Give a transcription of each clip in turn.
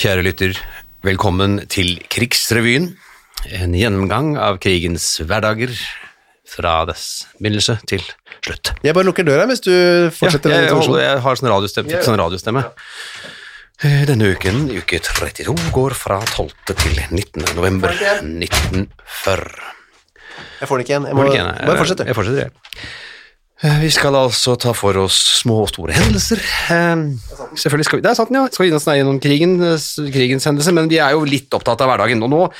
Kjære lytter, velkommen til Krigsrevyen. En gjennomgang av krigens hverdager fra dess begynnelse til slutt. Jeg bare lukker døra hvis du fortsetter jeg, den introduksjonen. jeg har sånn radiostemme. Sånn radiostemme. Eh, Denne uken, uke 32, går fra 12. til 19. november 1940. Jeg får den ikke igjen. Jeg må, Var det ikke en, eh, bare fortsette. Jeg fortsetter, jeg. Eh, Vi skal altså ta for oss små og store hendelser. Eh, Selvfølgelig skal vi, Der satt den, ja. Skal vi snakke gjennom krigen, eh, s- krigens hendelser, men vi er jo litt opptatt av hverdagen. Og nå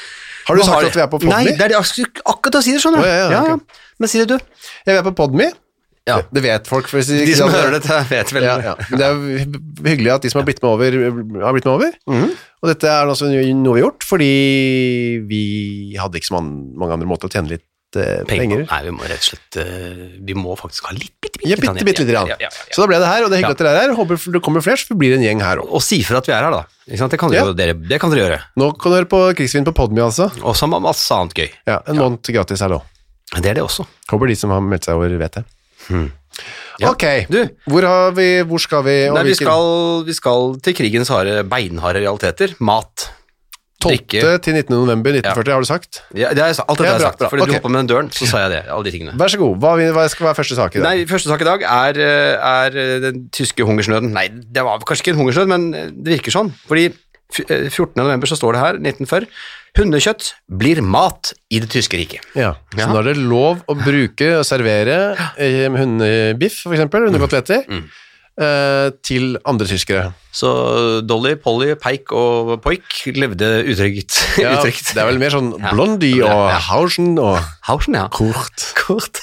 Har du nå sagt at vi er på Podme? Nei, det er det ak- akkurat å si det, skjønner du. Å, ja, ja, ok. Men si det, du. Jeg er på Podme. Ja. Det vet folk. hvis De ikke som hadde- hører dette, vet vel Ja, ja. Men Det er hy- hyggelig at de som har blitt med over, har blitt med over. Mhm. Og dette er altså noe vi har gjort, fordi vi hadde ikke så man- mange andre måter å tjene litt eh, penger. penger. Nei, vi må rett og slett eh, Vi må faktisk ha litt, bitte, bitte, Ja, grann bitte, igjen. bitte lite grann. Ja, ja, ja, ja. Så da ble det her, og det er Ja. hyggelig at dere er her. Håper det kommer flere, så vi blir en gjeng her òg. Og si fra at vi er her, da. Ikke sant? Det kan dere, Ja. dere, det kan dere gjøre. Nå kan du høre på Krigsvin på Podme, altså. Og så har man masse annet gøy. Ja, en måned gratis her nå. Det er det også. Håper de som har meldt seg over, vet det. Ja. Ok, Hmm. Du. Hvor, har vi, hvor skal vi? og Nei, vi hvilken- skal, vi skal til krigens harde, beinharde realiteter. Mat. 12. drikke. til 19. november 1940, har du sagt. Ja, det har jeg, sa- alt dette Ja, har jeg bra, sagt. bra. Fordi Ok. du hoppa med den døren, så sa jeg det. Alle de tingene. Vær så god. Hva, vi- hva skal være første sak i dag? Nei, Første sak i dag er, eh, er eh, den tyske hungersnøden. Nei, det var kanskje ikke en hungersnød, men eh, det virker sånn. Fordi f- eh, 14. november så står det her, 1940, hundekjøtt blir mat i det tyske riket. Ja, Ja. så nå er det lov å bruke og servere eh, hundebiff, for eksempel, hundekoteletter, Mm. eh, til andre tyskere. Så Dolly, Polly, Peik og Poik levde utrygt. Ja, utrygt. det er vel mer sånn Ja. Blondie og Ja. Hausen og Hausen, ja. Kurt. Kort.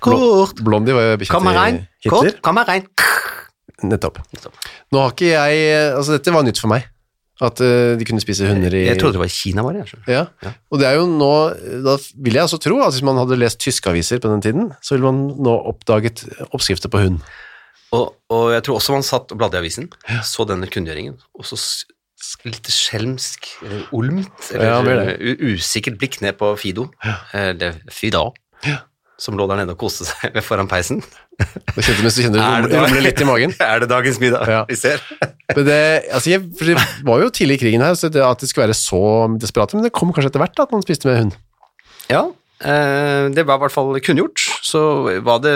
Kort. Blondie var jo bekjent Kom her i rein. Hitler. Kort, kom her rein. Nettopp. Nettopp. Nå har ikke jeg Altså, dette var nytt for meg. At eh, de kunne spise hunder i Jeg trodde det var Kina bare. jeg skjønner. Ja. Ja. Og det er jo nå Da vil jeg altså tro at hvis man hadde lest tyske aviser på den tiden, så ville man nå oppdaget oppskrifter på hund. Og, og jeg tror også man satt og bladde i avisen, så denne kunngjøringen, og så s- s- litt skjelmsk, eller olmt, Ja, eller det u- usikkert blikk ned på Fido, Eh, eller Fida, som lå der nede og koste seg ved foran peisen. Det kjente mens du kjenner Er det det- rumler litt i magen. Er det dagens middag Ja. vi ser? Men det, altså jeg, for det var jo tidlig i krigen her, så det at de skulle være så desperate, men det kom kanskje etter hvert da, at man spiste med hund. Ja, eh, det var i hvert fall kunngjort. Så var det,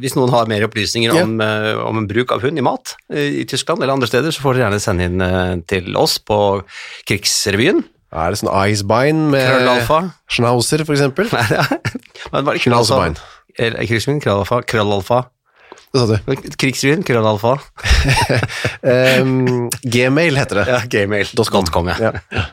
hvis noen har mer opplysninger Ja. om, eh, om en bruk av hund i mat eh, i Tyskland eller andre steder, så får dere gjerne sende inn eh, til oss på Krigsrevyen. Er det sånn icebein med Krøllalfa. schnauzer, for eksempel? Nei, ja. Men var det Knallsbein. krøllalfa? Eller Krigsrevyen, krøllalfa, krøllalfa. Det sa du. Krigsrevyen, krøllalfa. Em, Gmail heter det. Ja, gmail.com, ja. Ja.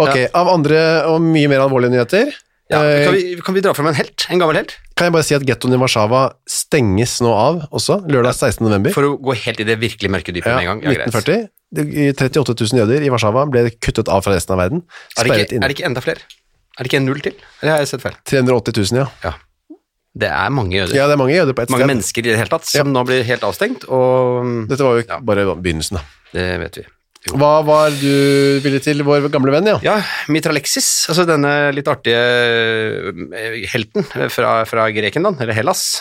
Ok, av andre og mye mer alvorlige nyheter, ja. eh, Kan, vi, kan vi dra frem en helt? En gammel helt? kan jeg bare si at gettoen i Warszawa stenges nå av også, lørdag 16. november. For å gå helt i det virkelig mørke dypet Ja, med en gang. Ja, greit. 1940. De- 38 000 jøder i Warszawa ble kuttet av fra resten av verden. Er det, Sperret ikke, inn. er det ikke enda flere? Er det ikke en null til? Eller har jeg sett feil? 380 000, ja. Det er mange jøder. Ja, det er mange jøder på ett mange sted. mennesker i det hele tatt som nå blir helt avstengt, og Dette var jo Ja. bare begynnelsen, da. det vet vi. Hva var du villig til, vår gamle venn, ja? Ja, Mitralexis, altså denne litt artige eh, helten fra, fra Grekenland, eller Hellas,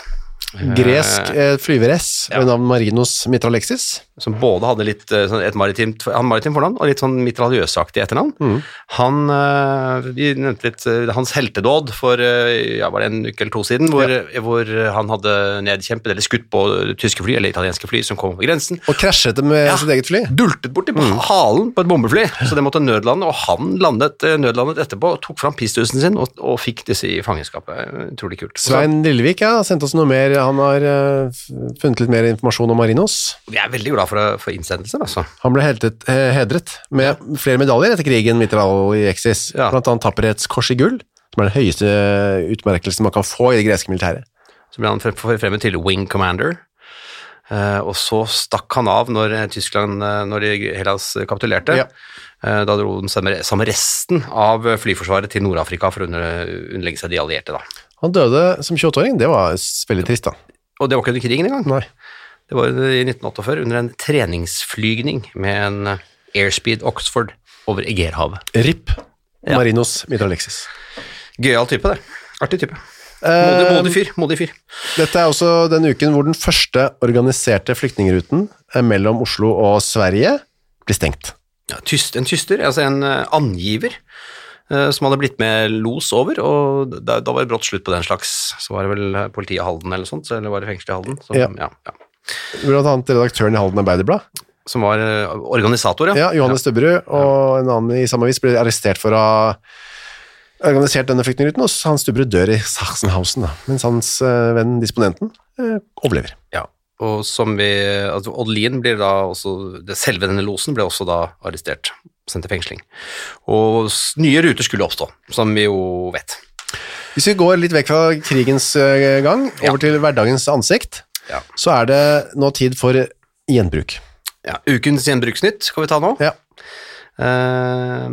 Gresk eh, flyveress ja. ved navn Marinos Mitralexis. som både hadde litt eh, sånn et maritimt, han maritimt fornavn og litt sånn mitraljøsaktig etternavn. Mhm. Han, eh, vi nevnte litt eh, hans heltedåd for eh, ja, var det en uke eller to siden, hvor, eh, hvor han hadde nedkjempet eller skutt på eh, tyske fly, eller italienske fly, som kom over grensen. Og krasjet det med Ja. sitt eget fly. dultet borti halen på et bombefly, så det måtte nødlande, og han landet, eh, nødlandet etterpå, og tok fram pistusen sin og, og fikk disse i fangenskapet. Utrolig kult. Så Svein Lillevik ja, har sendt oss noe mer. Han har eh, f- funnet litt mer informasjon om Marinos. vi er veldig glad for, for innsendelser, altså. Han ble heltet, eh, hedret med flere medaljer etter krigen, Mitralexis. Ja. Blant annet tapperhetskors i gull, som er den høyeste utmerkelsen man kan få i det greske militæret. Så ble han fre- forfremmet til wing commander, eh, og så stakk han av når eh, Tyskland, eh, når de- Hellas kapitulerte. Ja. Eh, Da dro den samme sammen med resten av eh, flyforsvaret til Nord-Afrika for å under- underlegge seg de allierte, da. Han døde som 28-åring, det var s- veldig trist da. Og det var ikke under krigen engang. Nei. Det var i 1948 under en treningsflygning med en eh, Airspeed Oxford over Egerhavet. RIP, Ja. Marinos Midra Alexis. Gøyal type, det. Artig type. Modig, Eh, modig fyr. Modig fyr. Dette er også den uken hvor den første organiserte flyktningruten eh, mellom Oslo og Sverige blir stengt. Ja, tyst, en tyster, altså en eh, angiver, eh, som hadde blitt med los over, og da, da var det brått slutt på den slags. Så var det vel eh, politiet i Halden eller sånt, eller var det fengselet i Halden? Som, Ja. ja. Ja, Blant annet redaktøren i Halden Arbeiderblad, som var eh, organisator, ja. ja, Johannes Stubberud, og en annen i samme vis ble arrestert for å ha organisert denne flyktningruten, og han Stubberud dør i Sachsenhausen, da, mens hans eh, venn, disponenten, eh, overlever. Ja. Og som vi, altså Odd Lien blir da også, det selve denne losen ble også da arrestert, sendt til fengsling. Og s- nye ruter skulle oppstå, som vi jo vet. Hvis vi går litt vekk fra krigens eh, gang, over Ja. til hverdagens ansikt, Ja. så er det nå tid for gjenbruk. Ja, ukens gjenbruksnytt skal vi ta nå. Ja. Eh,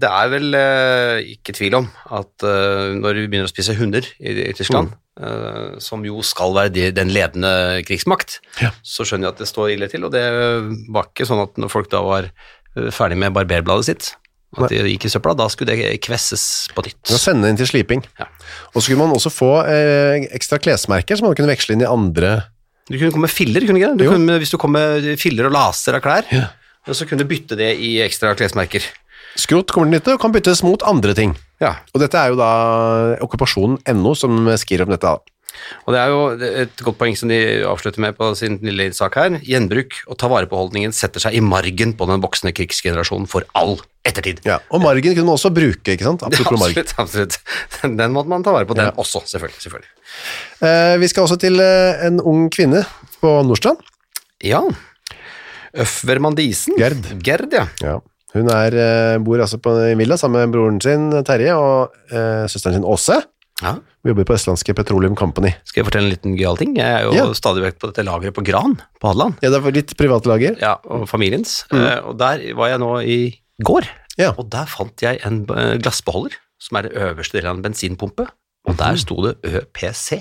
Det er vel eh, ikke tvil om at eh, når vi begynner å spise hunder i, i Tyskland, Mm. eh, som jo skal være de, den ledende krigsmakt, Ja. så skjønner jeg at det står ille til. Og det var ikke sånn at når folk da var eh, ferdig med barberbladet sitt, at det gikk i søpla, da skulle det kvesses på Ved å nytt. sende inn til sliping. Ja. Og så kunne man også få eh, ekstra klesmerker som man kunne veksle inn i andre Du kunne komme med filler, kunne du ikke det? Du Jo. kunne, hvis du kom med filler og laser av klær, Ja. og så kunne du bytte det i ekstra klesmerker. skrot kommer til nytte og kan byttes mot andre ting. Ja, Og dette er jo da okkupasjonen.no som skriver om dette. da. Og det er jo et godt poeng som de avslutter med på sin lille sak her. Gjenbruk og ta vare på holdningen setter seg i margen på den voksende krigsgenerasjonen for all ettertid. Ja. Og margen kunne man også bruke, ikke sant? Apropos margen. absolutt, absolutt. Den, den måtte man ta vare på, den også, selvfølgelig. selvfølgelig. Eh, vi skal også til eh, en ung kvinne på Nordstrand. Ja. Øfvermann Disen. Gerd. Gerd, ja. Ja. Hun er, eh, bor altså på en villa sammen med broren sin Terje og eh, søsteren sin Åse. ja. Hun jobber på Østlandske Petroleum Company. Skal jeg fortelle en liten gøyal ting? Jeg er jo Ja. stadig vekk på dette lageret på Gran på Hadeland. Ja, det er litt private lager. Ja, og familiens. Eh, og der var jeg nå i går, Mm. Ja. og der fant jeg en eh, glassbeholder, som er det øverste delen av en bensinpumpe, og Mhm. der sto det ØPC,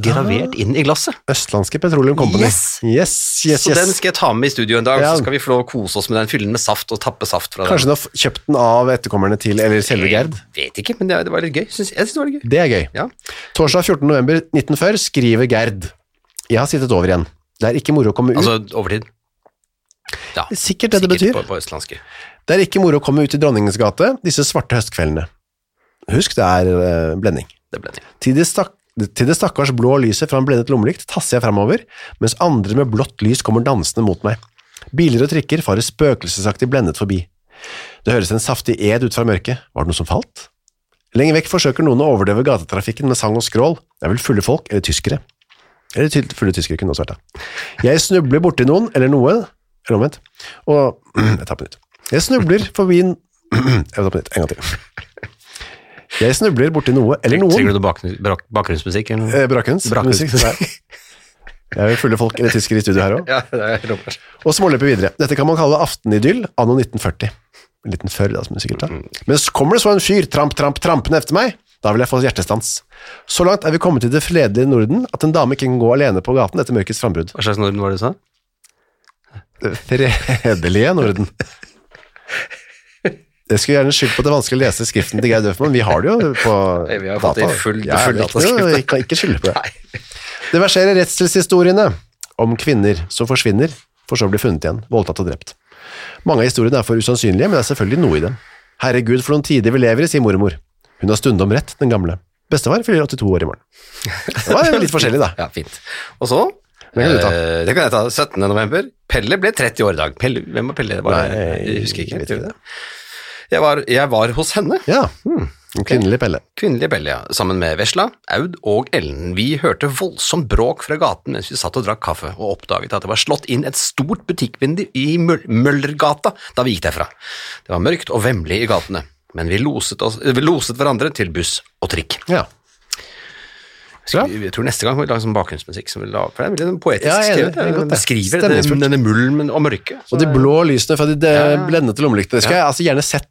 gravert Ah. inn i glasset. Østlandske Petroleum Company. Yes. yes, yes, Så yes. den skal jeg ta med i studio en dag, Ja. så skal vi få lov å kose oss med den, fylle den med saft og tappe saft fra Kanskje hun har f- kjøpt den av etterkommerne til, eller den. selve Gerd. Jeg Vet ikke, men det, det var litt gøy. Syns- jeg synes det var litt gøy. Det er gøy. Ja. Torsdag 14. november 1940 skriver Gerd. Jeg har sittet over igjen. Det er ikke moro å komme ut. Altså, overtid. Ja, Sikkert Mm. det sikkert det betyr. På, på østlandske. Det er ikke moro å komme ut i Dronningens gate disse svarte høstkveldene. Husk, det er eh, blending. Det ble det. Til det, stak til det stakkars blå lyset fra en blendet lommelykt tasser jeg framover, mens andre med blått lys kommer dansende mot meg. Biler og trikker farer spøkelsesaktig blendet forbi. Det høres en saftig ed ut fra mørket. Var det noe som falt? Lenger vekk forsøker noen å overdøve gatetrafikken med sang og skrål. Det er vel fulle folk, eller tyskere. Eller ty fulle tyskere kunne det også vært det. Jeg snubler borti noen, eller noe, eller omvendt, og Jeg tar på nytt. Jeg snubler forbi en Jeg tar på nytt, en gang til. Jeg snubler borti noe, eller noen Trenger du noe bakgrunn- brak- bakgrunnsmusikk? eller noe? Eh, Brakkunst. Brakkunst. Musikk, nei. Jeg er jo fulle folk eller tyskere i studio her òg. Ja, det er Robert. Og småløper videre. Dette kan man kalle aftenidyll anno 1940. En liten før, da, som du sikkert tar. Mm. Men så kommer det så en fyr tramp, tramp, trampende efter meg. Da vil jeg få hjertestans. Så langt er vi kommet i det fredelige Norden at en dame ikke kan gå alene på gaten etter mørkets frambrudd. Hva slags norden var det du sa? Det fredelige Norden. Jeg skulle gjerne skyldt på at det er vanskelig å lese skriften til Geir Døfman. Vi har det jo på Nei, vi har fått det i full- ja, full det er ikke noe- dataskrift. jeg kan ikke skylde på det. Nei. Det verserer redselshistoriene om kvinner som forsvinner, for så å bli funnet igjen, voldtatt og drept. Mange av historiene er for usannsynlige, men det er selvfølgelig noe i dem. Herregud, for noen tider vi lever i, sier mormor. Hun har stundom rett, den gamle. Bestefar fyller 82 år i morgen. Det var jo litt forskjellig, da. Ja, fint. Og så Det kan du ta. eh, det kan jeg ta. 17. november. Pelle ble 30 år i dag. Pelle, hvem var Pelle? Det var, Nei, jeg husker ikke. jeg vet ikke det. Jeg var, jeg var hos henne, Ja. hmm, En kvinnelig Pelle. kvinnelige Pelle, ja, sammen med Vesla, Aud og Ellen. Vi hørte voldsomt bråk fra gaten mens vi satt og drakk kaffe, og oppdaget at det var slått inn et stort butikkvindu i Møll- Møllergata da vi gikk derfra. Det var mørkt og vemmelig i gatene, men vi loset, oss, vi loset hverandre til buss og trikk. Ja. Skal vi- Jeg tror neste gang må vi lage sånn bakgrunnsmusikk som vi la for det er veldig sånn poetisk Ja, jeg er enig. skrevet. Det er godt, Den det. beskriver denne, Stemningsfullt. denne mullen men- og mørket. Så Og de det- blå lysene fra de de Ja. blendete lommelykter, det skulle jeg altså gjerne sett.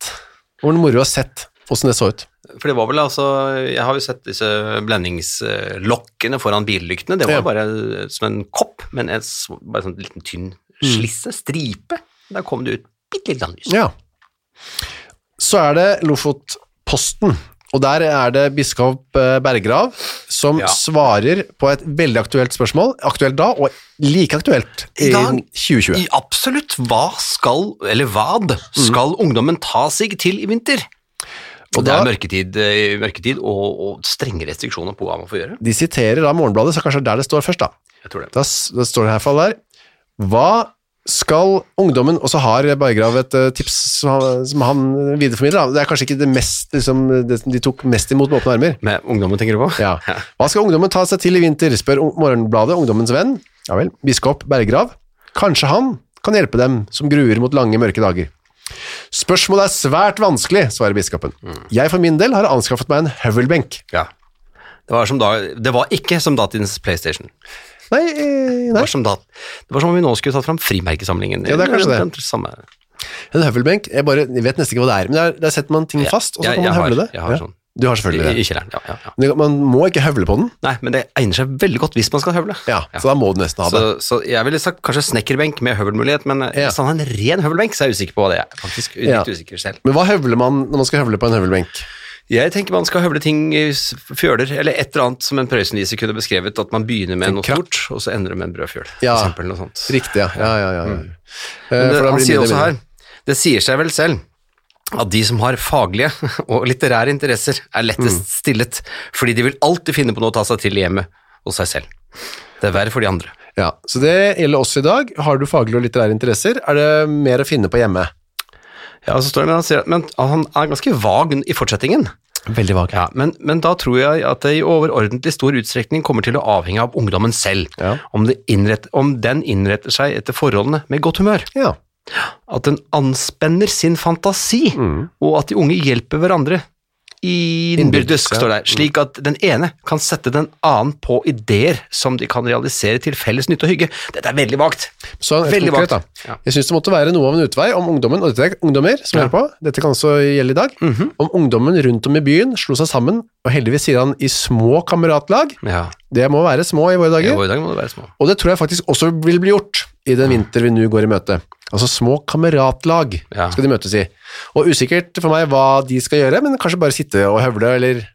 Det var moro å ha sett hvordan det så ut. For det var vel altså Jeg har jo sett disse blendingslokkene foran billyktene. Det var Ja. bare eh, som en kopp, men en s- bare sånn liten tynn slisse, stripe. Der kom det ut bitte litt lys. Mm. Ja. Så er det Lofotposten, og der er det biskop eh, Bergrav som Ja. svarer på et veldig aktuelt spørsmål, aktuelt da, og like aktuelt i I dag. 2020. I absolutt hva skal, eller vad, Mm. skal ungdommen ta seg til i vinter? Og Og det da- er mørketid, eh, mørketid og, og strenge restriksjoner på hva man får gjøre. De siterer da Morgenbladet, så kanskje det er der det står først da. Jeg tror det. Da, s- da står det i hvert fall der. Hva skal ungdommen, og så har Bergrav et eh, tips som han, som han videreformidler, da. det er kanskje ikke det mest, liksom, det som de tok mest imot med åpne armer, Med ungdommen, tenker du på? Ja. Hva skal ungdommen ta seg til i vinter, spør Ung- Morgenbladet, ungdommens venn. Ja vel, biskop Berggrav. Kanskje han kan hjelpe dem som gruer mot lange, mørke dager. Spørsmålet er svært vanskelig, svarer biskopen. Mm. Jeg for min del har anskaffet meg en høvelbenk. Ja. Det var, som da, det var ikke som datidens PlayStation. Nei, eh, Det nei. var, som da, det var som om vi nå skulle tatt fram frimerkesamlingen. Ja, det er kanskje det. Omtrent Samme. En høvelbenk, jeg, bare, jeg vet nesten ikke hva det er, men der, der setter man ting fast, og så jeg- kan jeg man har- høvle det. jeg har Ja. sånn. Du har I, selvfølgelig I det. kjelleren, ja, ja, ja. Men Man må ikke høvle på den, Nei, men det egner seg veldig godt hvis man skal høvle. ja, Ja. så da må du nesten ha Så, det. så jeg ville sagt kanskje snekkerbenk med høvelmulighet, men eh, Ja. hvis han har en ren høvelbenk, så er jeg usikker på hva det er. Faktisk litt Ja. usikker selv. Men hva høvler man når man skal høvle på en høvelbenk? Jeg tenker man skal høvle ting i s- fjøler, eller et eller annet som en prøysenviser kunne beskrevet, at man begynner med noe krakk. stort, og så ender det med en brødfjøl, Ja. for eksempel noe sånt. Riktig, ja. ja, ja, ja, ja. Eh, Mm. Men det, for da han blir sier mindre også mindre. her, det sier seg vel selv at de som har faglige og litterære interesser er lettest stillet, fordi de vil alltid finne på noe å ta seg til i hjemmet og seg selv. Det er verre for de andre. Ja, så det gjelder også i dag. Har du faglige og litterære interesser, er det mer å finne på hjemme. Ja, så står det, men han, sier, men han er ganske vag i fortsettingen. Veldig vag. Ja, men, men da tror jeg at det i overordentlig stor utstrekning kommer til å avhenge av ungdommen selv, Ja. om, det innrett, om den innretter seg etter forholdene med godt humør. Ja. At den anspenner sin fantasi, og at de unge hjelper hverandre innbyrdes, Innbyrdes, ja. står det her, slik at den ene kan sette den annen på ideer som de kan realisere til felles nytte og hygge. Dette er veldig vagt. Så et Veldig konkret, vagt. da. Ja. Jeg syns det måtte være noe av en utvei om ungdommen, og dette er ungdommer som hører på, dette kan også gjelde i dag, Mhm. om ungdommen rundt om i byen slo seg sammen, og heldigvis sier han i små kameratlag, Ja, det må være små i våre dager, og i dag må det være små. og det tror jeg faktisk også vil bli gjort i Mm. den vinter vi nå går i møte. Altså små kameratlag Ja. skal de møtes i. Og usikkert for meg hva de skal gjøre, men kanskje bare sitte og høvle, eller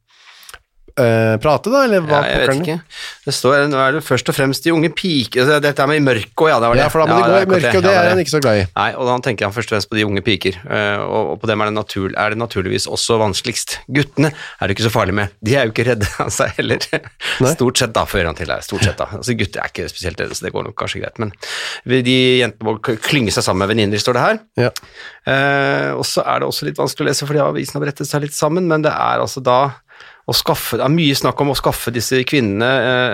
eh, prate da, eller Ja, hva jeg vet pokkerne- ikke. Det står, nå er det først og fremst de unge piker, altså, dette er med i mørket, og ja, det var det. Ja, for da må Ja, de gå i akkurat mørket, og det Ja, er han ikke så glad i. Nei, og da tenker han først og fremst på de unge piker, eh, og, og på dem er det, natur, er det naturligvis også vanskeligst. Guttene er det ikke så farlig med, de er jo ikke redde av seg heller. Stort sett da, før han til deg, stort sett da. Altså gutter er ikke spesielt redde, så det går nok kanskje greit, men vi- de jentene må k- klynge seg sammen med venninner, står det her. Ja. Eh, og så er det også litt vanskelig å lese, fordi avisen har brettet seg litt sammen, men det er altså da å skaffe, det er mye snakk om å skaffe disse kvinnene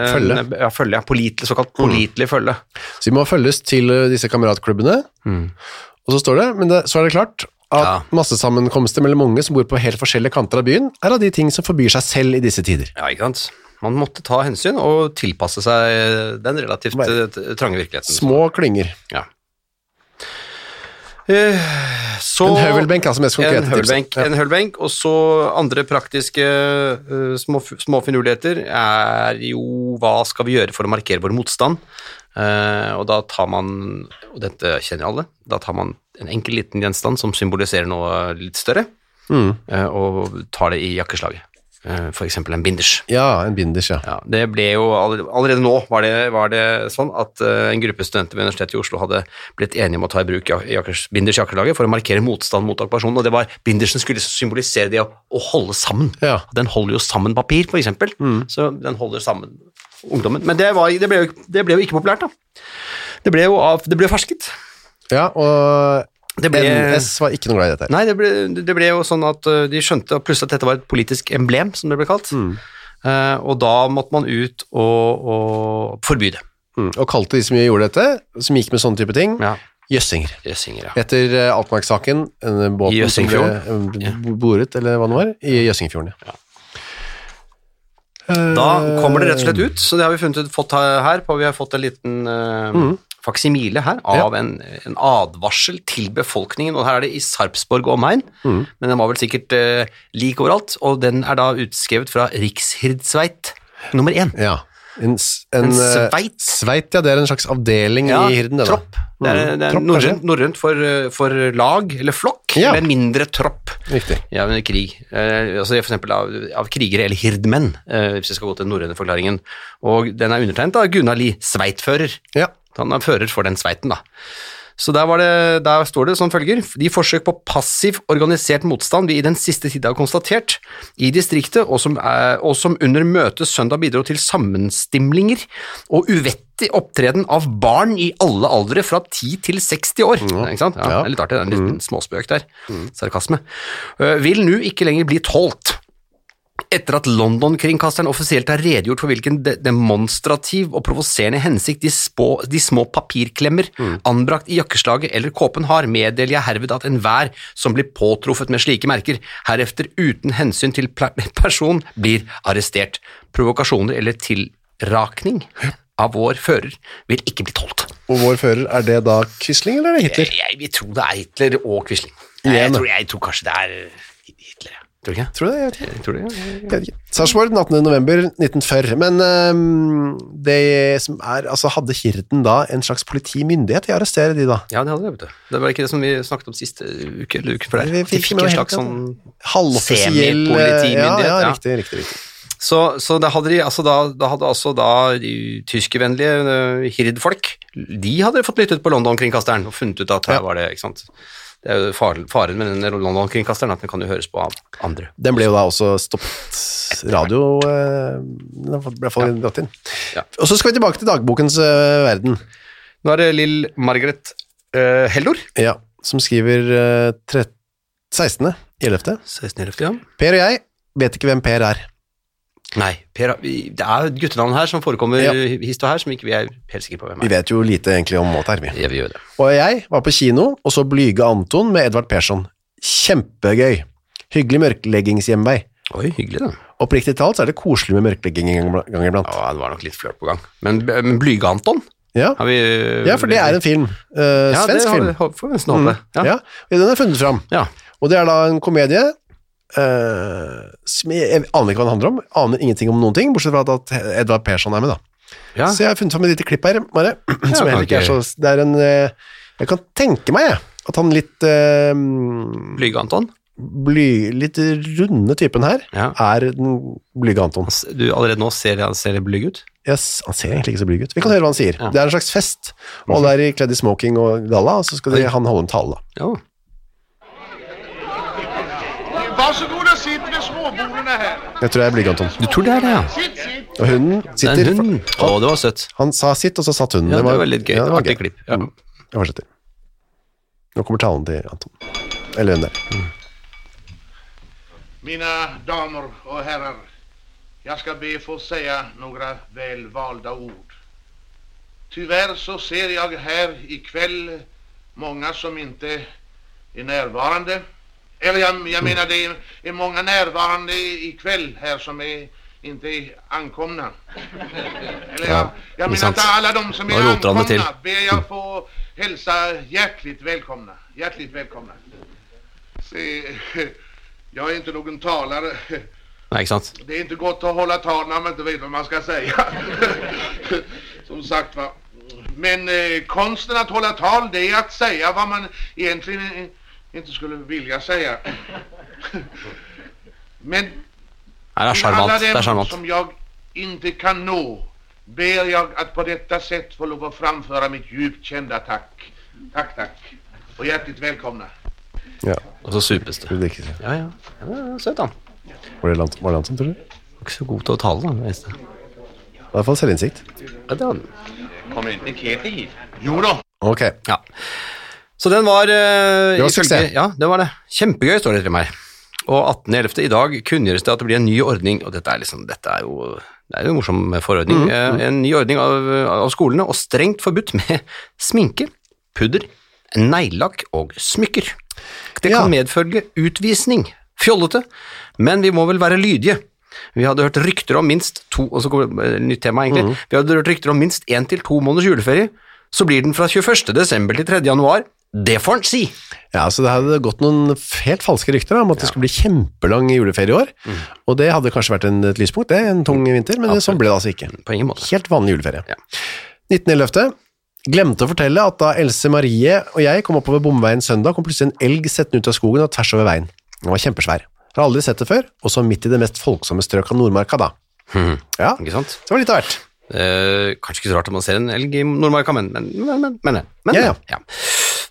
eh, Følge. en- Ja, følge, ja, pålitelig, såkalt pålitelig følge. Så vi må følges til ø, disse kameratklubbene. Og så står det, men det, så er det klart at Mm. Ja. massesammenkomster mellom unge som bor på helt forskjellige kanter av byen, er av de ting som forbyr seg selv i disse tider. Ja, ikke sant? Man måtte ta hensyn og tilpasse seg den relativt Bare- eh, t- trange virkeligheten. Små klynger. Ja. Eh, Så, En høvelbenk, altså mest En konkrete høvelbenk, tipset. en høvelbenk, og så andre praktiske eh, små, småfinurligheter er jo hva skal vi gjøre for å markere vår motstand? Eh, og da tar man, og dette kjenner alle, da tar man en enkel liten gjenstand som symboliserer noe litt større, Mm. eh, og tar det i jakkeslaget. Eh, for eksempel en binders. Ja, en binders, ja. Ja, det ble jo all- Allerede nå var det, var det sånn at eh, en gruppe studenter ved Universitetet i Oslo hadde blitt enige om å ta i bruk jak- jakkers, Binders jakkelaget for å markere motstand mot okkupasjonen, og det var bindersen skulle symbolisere det å, å holde sammen. Ja. Den holder jo sammen papir, for eksempel, så den holder sammen ungdommen. Men det, var, det, ble jo, det ble jo ikke populært, da. Det ble jo av, det ble farsket. ja og Det ble- NS var ikke noe glad i dette. her. Nei, det ble, det ble jo sånn at øh, de skjønte plutselig at dette var et politisk emblem, som det ble kalt. Eh, og da måtte man ut og, og forby det. Mm. Og kalte de som gjorde dette, som gikk med sånne type ting, Ja, jøssinger. Jøssinger, ja. Etter eh, Altmarkssaken, I eh, båten som ble Jøssingfjorden. eh, boret, eller hva det var, i Jøssingfjorden. Ja. Da kommer det rett og slett ut, så det har vi funnet, ut- fått her på. Vi har fått en liten eh, faksimile her av en, en advarsel til befolkningen. Og her er det i Sarpsborg og omegn, men den var vel sikkert eh, lik overalt. Og den er da utskrevet fra Rikshirdsveit nummer én. Ja. En, s- en, En eh, sveit. Sveit, ja. Det er en slags avdeling Ja, i hirden. det da. Mm. tropp. Det er, det er Tropp, kanskje? norrønt, norrønt for, eh, for lag, eller flokk, Ja. men mindre tropp. Riktig. Ja, men krig. Eh, altså for eksempel av, av krigere eller hirdmenn, eh, hvis vi skal gå til den norrøne forklaringen. Og den er undertegnet av Gunnar Lie, sveitfører. Ja. Han er fører for den sveiten, da. Så der, var det, der står det som følger De forsøk på passiv, organisert motstand vi i den siste tid har konstatert i distriktet, og som, er, og som under møtet søndag bidro til sammenstimlinger og uvettig opptreden av barn i alle aldre fra 10 til 60 år. Ikke sant? Ja, Mm. Ja. Det er litt artig, det er en liten småspøk der. Sarkasme. Øh, Vil nå ikke lenger bli tålt. Etter at London-kringkasteren offisielt har redegjort for hvilken de demonstrativ og provoserende hensikt de, spå, de små papirklemmer anbrakt i jakkeslaget eller kåpen har, meddeler jeg herved at enhver som blir påtruffet med slike merker, herefter uten hensyn til pla- person, blir arrestert. Provokasjoner eller tilrakning av vår fører vil ikke bli tålt. Og vår fører, er det da Quisling eller er det Hitler? Jeg vil tro det er Hitler og Quisling. Nei, Igjen, Jeg, da. tror- jeg tror kanskje det er Hitler. ja. Tror du ikke? Tror du det? Jeg vet ikke. Jeg tror det. Jeg vet ikke. Sarpsborg, den 18. november 1940. Men ehm, det som er, altså hadde Hirden da en slags politimyndighet? Jeg arresterer de da. Ja, det hadde det, vet du. Det var ikke det som vi snakket om sist eh, uke eller uken før der. Vi De fikk med en helt slags at- sånn halvoffisiell eh, semipolitimyndighet, Ja, ja, ja. riktig, riktig, riktig. Så, så da hadde de altså da, da hadde altså da de tyskervennlige eh, hirdfolk, de hadde fått lyttet på London-kringkasteren og funnet ut at her Ja. var det, ikke sant. Det er jo faren, faren med den London-kringkasteren, at den kan jo høres på av andre. Den ble jo da også stoppet radio eh, Den ble i hvert fall dratt inn. Ja. Og så skal vi tilbake til dagbokens eh, verden. Nå er det Lill Margaret eh, Hellor. Ja, som skriver eh, tre- 16. i 11. 16 i løftet, ja. Per og jeg vet ikke hvem Per er. Nei, per, vi- det er jo et guttenavn her som forekommer Ja. eh, hist og her, som ikke vi er helt sikre på hvem Vi er. vet jo lite egentlig om Måt her, vi. Ja, vi gjør det. Og jeg var på kino og så Blyge Anton med Edvard Persson. Kjempegøy. Hyggelig mørkleggingshjemvei. Oi, hyggelig da. Oppriktig talt så er det koselig med mørklegging en gang gang iblant. Ja, det var nok litt flørt på gang. Men, men Blyge-Anton? Ja. Har vi ja, for det er en film. Eh, Ja, svensk det har vi- film. Mm. får vi nesten håpe. Ja. Ja. og Den er funnet fram. ja. Og det er da en komedie eh, som jeg, jeg aner ikke hva den handler om. Aner ingenting om noen ting, bortsett fra at Edvard Persson er med, da. ja. Så jeg har funnet fram et lite klipp her, bare, som kan heller ikke er så ikke- Det er en eh, Jeg kan tenke meg, jeg, at han litt eh, Blyge-Anton. bly, litt runde typen her Ja. er den blyge Anton. Altså, Du, allerede nå ser han ser blyg ut. Yes, han ser egentlig ikke så blyg ut. Vi kan høre hva han sier. Ja. Det er en slags fest, og alle er i- kledd i smoking og galla, og så skal de, han holde en tale. da. Ja. Varsågoda, sitt vid småbordena här. Jeg tror jeg er blyg Anton. Du tror det er det, ja. Sitt, sitt. Og hunden Det sitter er en hund. Å, det var søtt. Han sa sitt, og så satt hunden. Ja, det var litt gøy. ja, det var Artig klipp. Ja. Mm. Jeg fortsetter. Nå kommer talen til Anton. Eller hun der. Mina damer och herrar, jag ska be få säga några välvalda ord. Tyvärr så ser jag här ikväll många som inte är närvarande. Eller jag, jag menar det är, är många närvarande i- ikväll här som är inte är ankomna. Eller jag, det är jag menar sant. inte alla de som är Ja, det låter han det till. ankomna ber jag få hälsa hjärtligt välkomna. Hjärtligt välkomna. Se, jag är inte någon talare. Nei, ikke sant. Det är inte gott att hålla tal när man inte vet vad man ska säga. Som sagt va. Men eh, konsten att hålla tal det är att säga vad man egentligen eh, inte skulle vilja säga. Men Nei, det er alla sjarmant. Det dem er sjarmant. som jag inte kan nå ber jag att på detta sätt få lov att framföra mitt djupt kända tack. Tack, tack. Och hjärtligt välkomna. Ja, Og så supes det. det er ikke så- Ja, ja. ja det er søtt, han. Var det Anton, var det Anton tror du? Det Var Ikke så god til å tale, da. det eneste. var I hvert fall selvinnsikt. Ja, det hadde han. Kommer inte Keti hit? Jo då. Ok. Ja. Så den var eh, Det var ifølge- suksess. Ja, det var det. Kjempegøy, står det til meg. Og 18.11. i dag kunngjøres det at det blir en ny ordning, og dette er, liksom, dette er jo det er jo en morsom forordning. Mm, Eh, En ny ordning av, av skolene, og strengt forbudt med sminke, pudder, neglelakk og smykker. Det kan Ja. medfølge utvisning. Fjollete, men vi må vel være lydige. Vi hadde hørt rykter om minst to og så kommer det et nytt tema egentlig, Mhm. vi hadde hørt rykter om minst én til to måneders juleferie. Så blir den fra 21. desember til 3. januar. Det får en si! Ja, så det hadde gått noen f- helt falske rykter da, om at det skulle bli kjempelang juleferie i år, og det hadde kanskje vært en, et lyspunkt, det, en tung vinter, men det- sånn ble det altså ikke. På ingen måte. Helt vanlig juleferie. Mm. Ja. 19.11. Glemte å fortelle at da Else Marie og jeg kom oppover bomveien søndag, kom plutselig en elg settende ut av skogen og tvers over veien. Den var kjempesvær. Har aldri sett det før, og så midt i det mest folksomme strøk av Nordmarka da. Ja, det Ikke sant? var litt av hvert. Eh, kanskje ikke så rart om man ser en elg i Nordmarka, men men, men, men, men, men Ja, ja.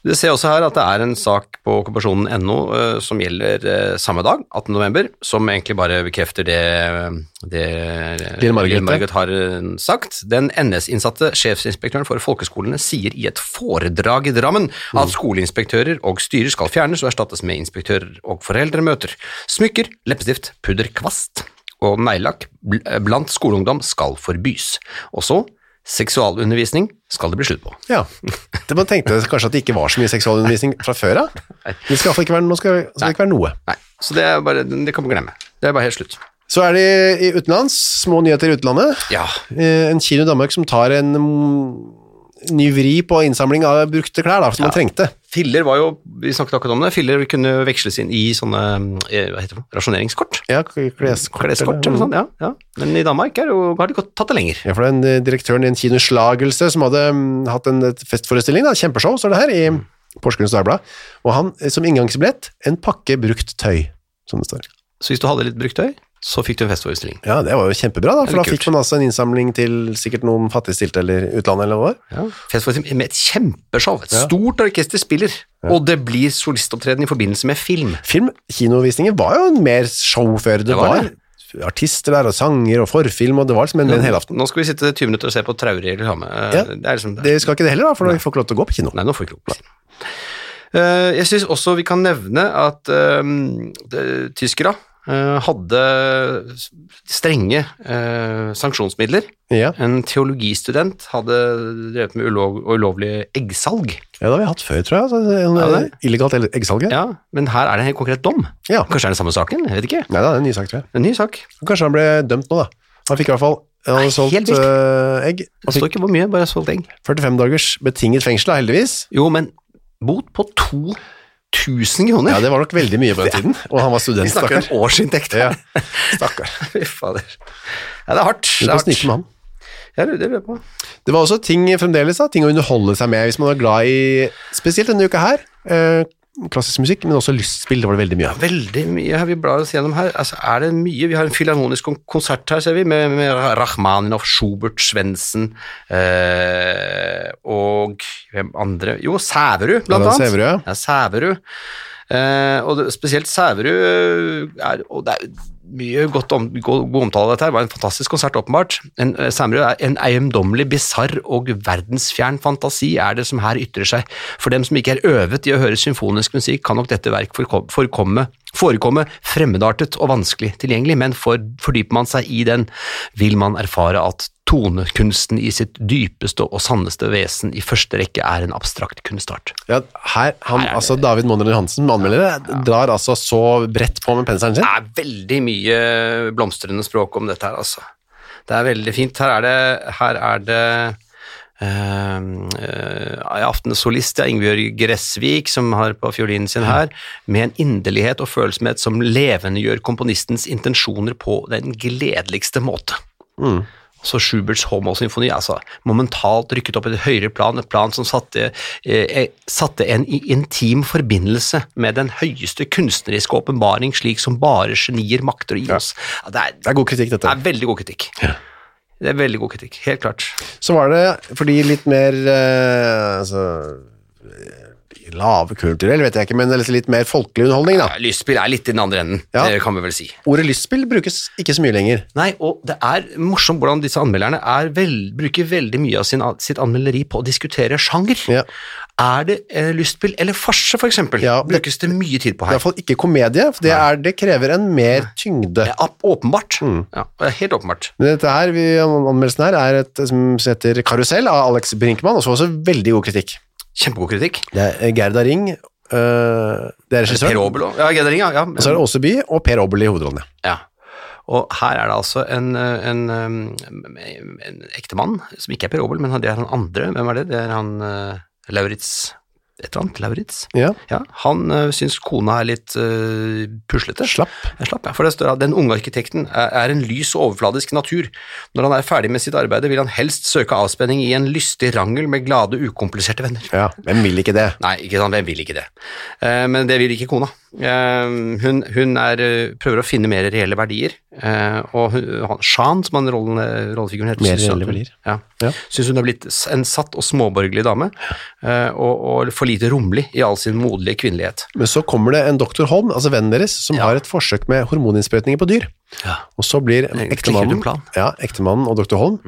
Du ser også her at det er en sak på okkupasjonen.no eh, som gjelder eh, samme dag, 18. november, som egentlig bare bekrefter det, det Lill Margrethe. har eh, sagt. Den NS-innsatte sjefsinspektøren for folkeskolene sier i et foredrag i Drammen at skoleinspektører og styrer skal fjernes og erstattes med inspektører og foreldremøter. Smykker, leppestift, pudder, kvast og neglelakk bl- blant skoleungdom skal forbys. Også seksualundervisning skal det bli slutt på. Ja, det man tenkte kanskje at det ikke var så mye seksualundervisning fra før, da. Det skal i hvert fall ikke være, nå skal, skal det ikke være noe. Nei, så det, er bare, det kan man glemme. Det er bare helt slutt. Så er det i utenlands, små nyheter i utlandet. Ja, Eh, En kino i Danmark som tar en mm, ny vri på innsamling av brukte klær, da, som man trengte. filler var jo, vi snakket akkurat om det, filler kunne veksles inn i sånne, eh, hva heter det, rasjoneringskort. Ja, k- kleskort. Kleskort eller noe sånt, ja. ja. Men i Danmark er det jo, har de gått, tatt det lenger. Ja, for den eh, direktøren i en kinoslagelse som hadde mm, hatt en eh, festforestilling, da, kjempeshow, står det her, i Porsgrunns Dagblad, og han eh, som inngangsbillett, en pakke brukt tøy, som det står. Så hvis du hadde litt brukt tøy, så fikk du en festforestilling. Ja, det var jo kjempebra da, Ja, for da det er fikk kult. man altså en innsamling til sikkert noen fattigstilte eller utlandet eller hva. det var. Ja. Festforestilling med et kjempeshow. Et stort orkester spiller, og det blir solistopptreden i forbindelse med film. Film, kinovisninger var jo en mer show før det, Det var var. Artister der, og sanger, og forfilm, og det var liksom en, en helaften. Nå skal vi sitte 20 minutter og se på traurig reklame. Eh, Ja. Det er liksom Det skal ikke det heller da, for da får ikke lov til å gå på kino. Nei, nå får vi ikke lov. til å si. Eh, jeg syns også vi kan nevne at um, de, tyskere eh, hadde s- strenge eh, sanksjonsmidler. Ja, En teologistudent hadde drevet med ulov, ulovlig eggsalg. ja det har vi hatt før, tror jeg. Altså, en, Ja, det. eh, illegalt el- eggsalg. Ja. Ja, men her er det en helt konkret dom. ja. Kanskje er det samme saken? Jeg vet ikke. Nei, da, det er en ny sak, tror jeg. En ny sak. Kanskje han ble dømt nå, da. Han fikk i hvert fall han Nei, hadde helt solgt vilt. øh, egg. Det står ikke hvor mye, bare solgt egg. 45 dagers betinget fengsel, da, heldigvis. Jo, men bot på 2000 kroner? Ja, det var nok veldig mye på den tiden. Og han var student, vi snakker stakkar. om årsinntekt. Ja, stakkar. Fy fader. Ja, det er hardt. Du Det kan er snike hardt. med han. Ja, det lurer jeg på. Det var også ting fremdeles, da, ting å underholde seg med hvis man var glad i Spesielt denne uka her. øh, klassisk musikk, men også lystspill. Det var det veldig mye av. Veldig mye her vi blar oss gjennom her. Altså, er det mye? Vi har en filharmonisk kon- konsert her, ser vi, med, med Rachmaninov, Schubert, Svendsen eh, og hvem andre? Jo, Sæverud, blant Allan annet. Sæverud, ja. ja. Sæverud. Eh, og det, spesielt Sæverud eh, er Og det er mye godt om, god, god omtale av dette her. Det var en fantastisk konsert, åpenbart. En, eh, Sæverud er en eiendommelig, bisarr og verdensfjern fantasi er det som her ytrer seg. For dem som ikke er øvet i å høre symfonisk musikk, kan nok dette verk forko- forkomme forekomme fremmedartet og vanskelig tilgjengelig, men for, fordyper man seg i den, vil man erfare at tonekunsten i sitt dypeste og sanneste vesen i første rekke er en abstrakt kunstart. Ja, her, han, altså David Monrad Johansen, som anmelder det, drar altså så bredt på med penselen sin. Det er veldig mye blomstrende språk om dette her, altså. Det er veldig fint. Her er det, her er det ehm, eh, Aftenens solist, ja, Ingebjørg Gressvik, som har på fiolinen sin her, med en inderlighet og følsomhet som levendegjør komponistens intensjoner på den gledeligste måte. Så Schuberts homosymfoni altså momentalt rykket opp i et høyere plan, et plan som satte, eh, satte en i intim forbindelse med den høyeste kunstneriske åpenbaring, slik som bare genier makter å gi oss. Ja, det, er, Det er god kritikk, dette. det er veldig god kritikk. Det er veldig god kritikk, helt klart. Så var det, for de litt mer eh, altså, eh, lave kulturelle, vet jeg ikke, men altså litt- litt mer folkelig underholdning da. Ja, Lystspill er litt i den andre enden, Ja. det kan vi vel si. Ordet lystspill brukes ikke så mye lenger. Nei, og det er morsomt hvordan disse anmelderne er vel, bruker veldig mye av sin, sitt anmelderi på å diskutere sjanger. Ja. Er det eh, lystspill eller farse, for eksempel? Ja, det- Brukes det mye tid på I her? hvert fall ikke komedie, for det, er, det krever en mer tyngde. Ja, opp- åpenbart. Ja, det er helt åpenbart. Men dette her, vi, anmeldelsen her er et som heter Karusell av Alex Brinkmann, og så også veldig god kritikk. Kjempegod kritikk. Det er eh, Gerda Ring, eh, det er Per regissør, og Obel òg. Ja, Gedring, ja. ja. så er det Åseby og Per Obel i hovedrollene. ja. Og her er det altså en, eh, en, eh, en ekte mann, som ikke er Per Obel, men han- det er han andre. Hvem er det? Det er han eh, Lauritz Et eller annet? Lauritz? Ja. Ja, han uh, syns kona er litt eh, puslete. Slapp. Jeg slapp, ja. For det står at den unge arkitekten er er en lys og overfladisk natur. Når han er ferdig med sitt arbeid, vil han helst søke avspenning i en lystig rangel med glade, ukompliserte venner. Ja, hvem vil ikke det? Nei, ikke sant, hvem vil ikke det? Eh, men det vil ikke kona. Eh, hun hun er, eh, prøver å finne mer reelle verdier, eh, og hun, han, Shan, som han rollen, eh, rollefiguren heter, Mer synes at reelle hun- verdier. Ja, Ja. synes hun er blitt s- en satt og småborgerlig dame, eh, og, og for lite romlig i all sin moderlige kvinnelighet. Men så kommer det en doktor Holm, altså vennen deres, som har et forsøk med hormoninnsprøytninger på dyr. Ja. Og så blir klikker du en ektemannen plan. Mhm. ja, ektemannen og doktor Holm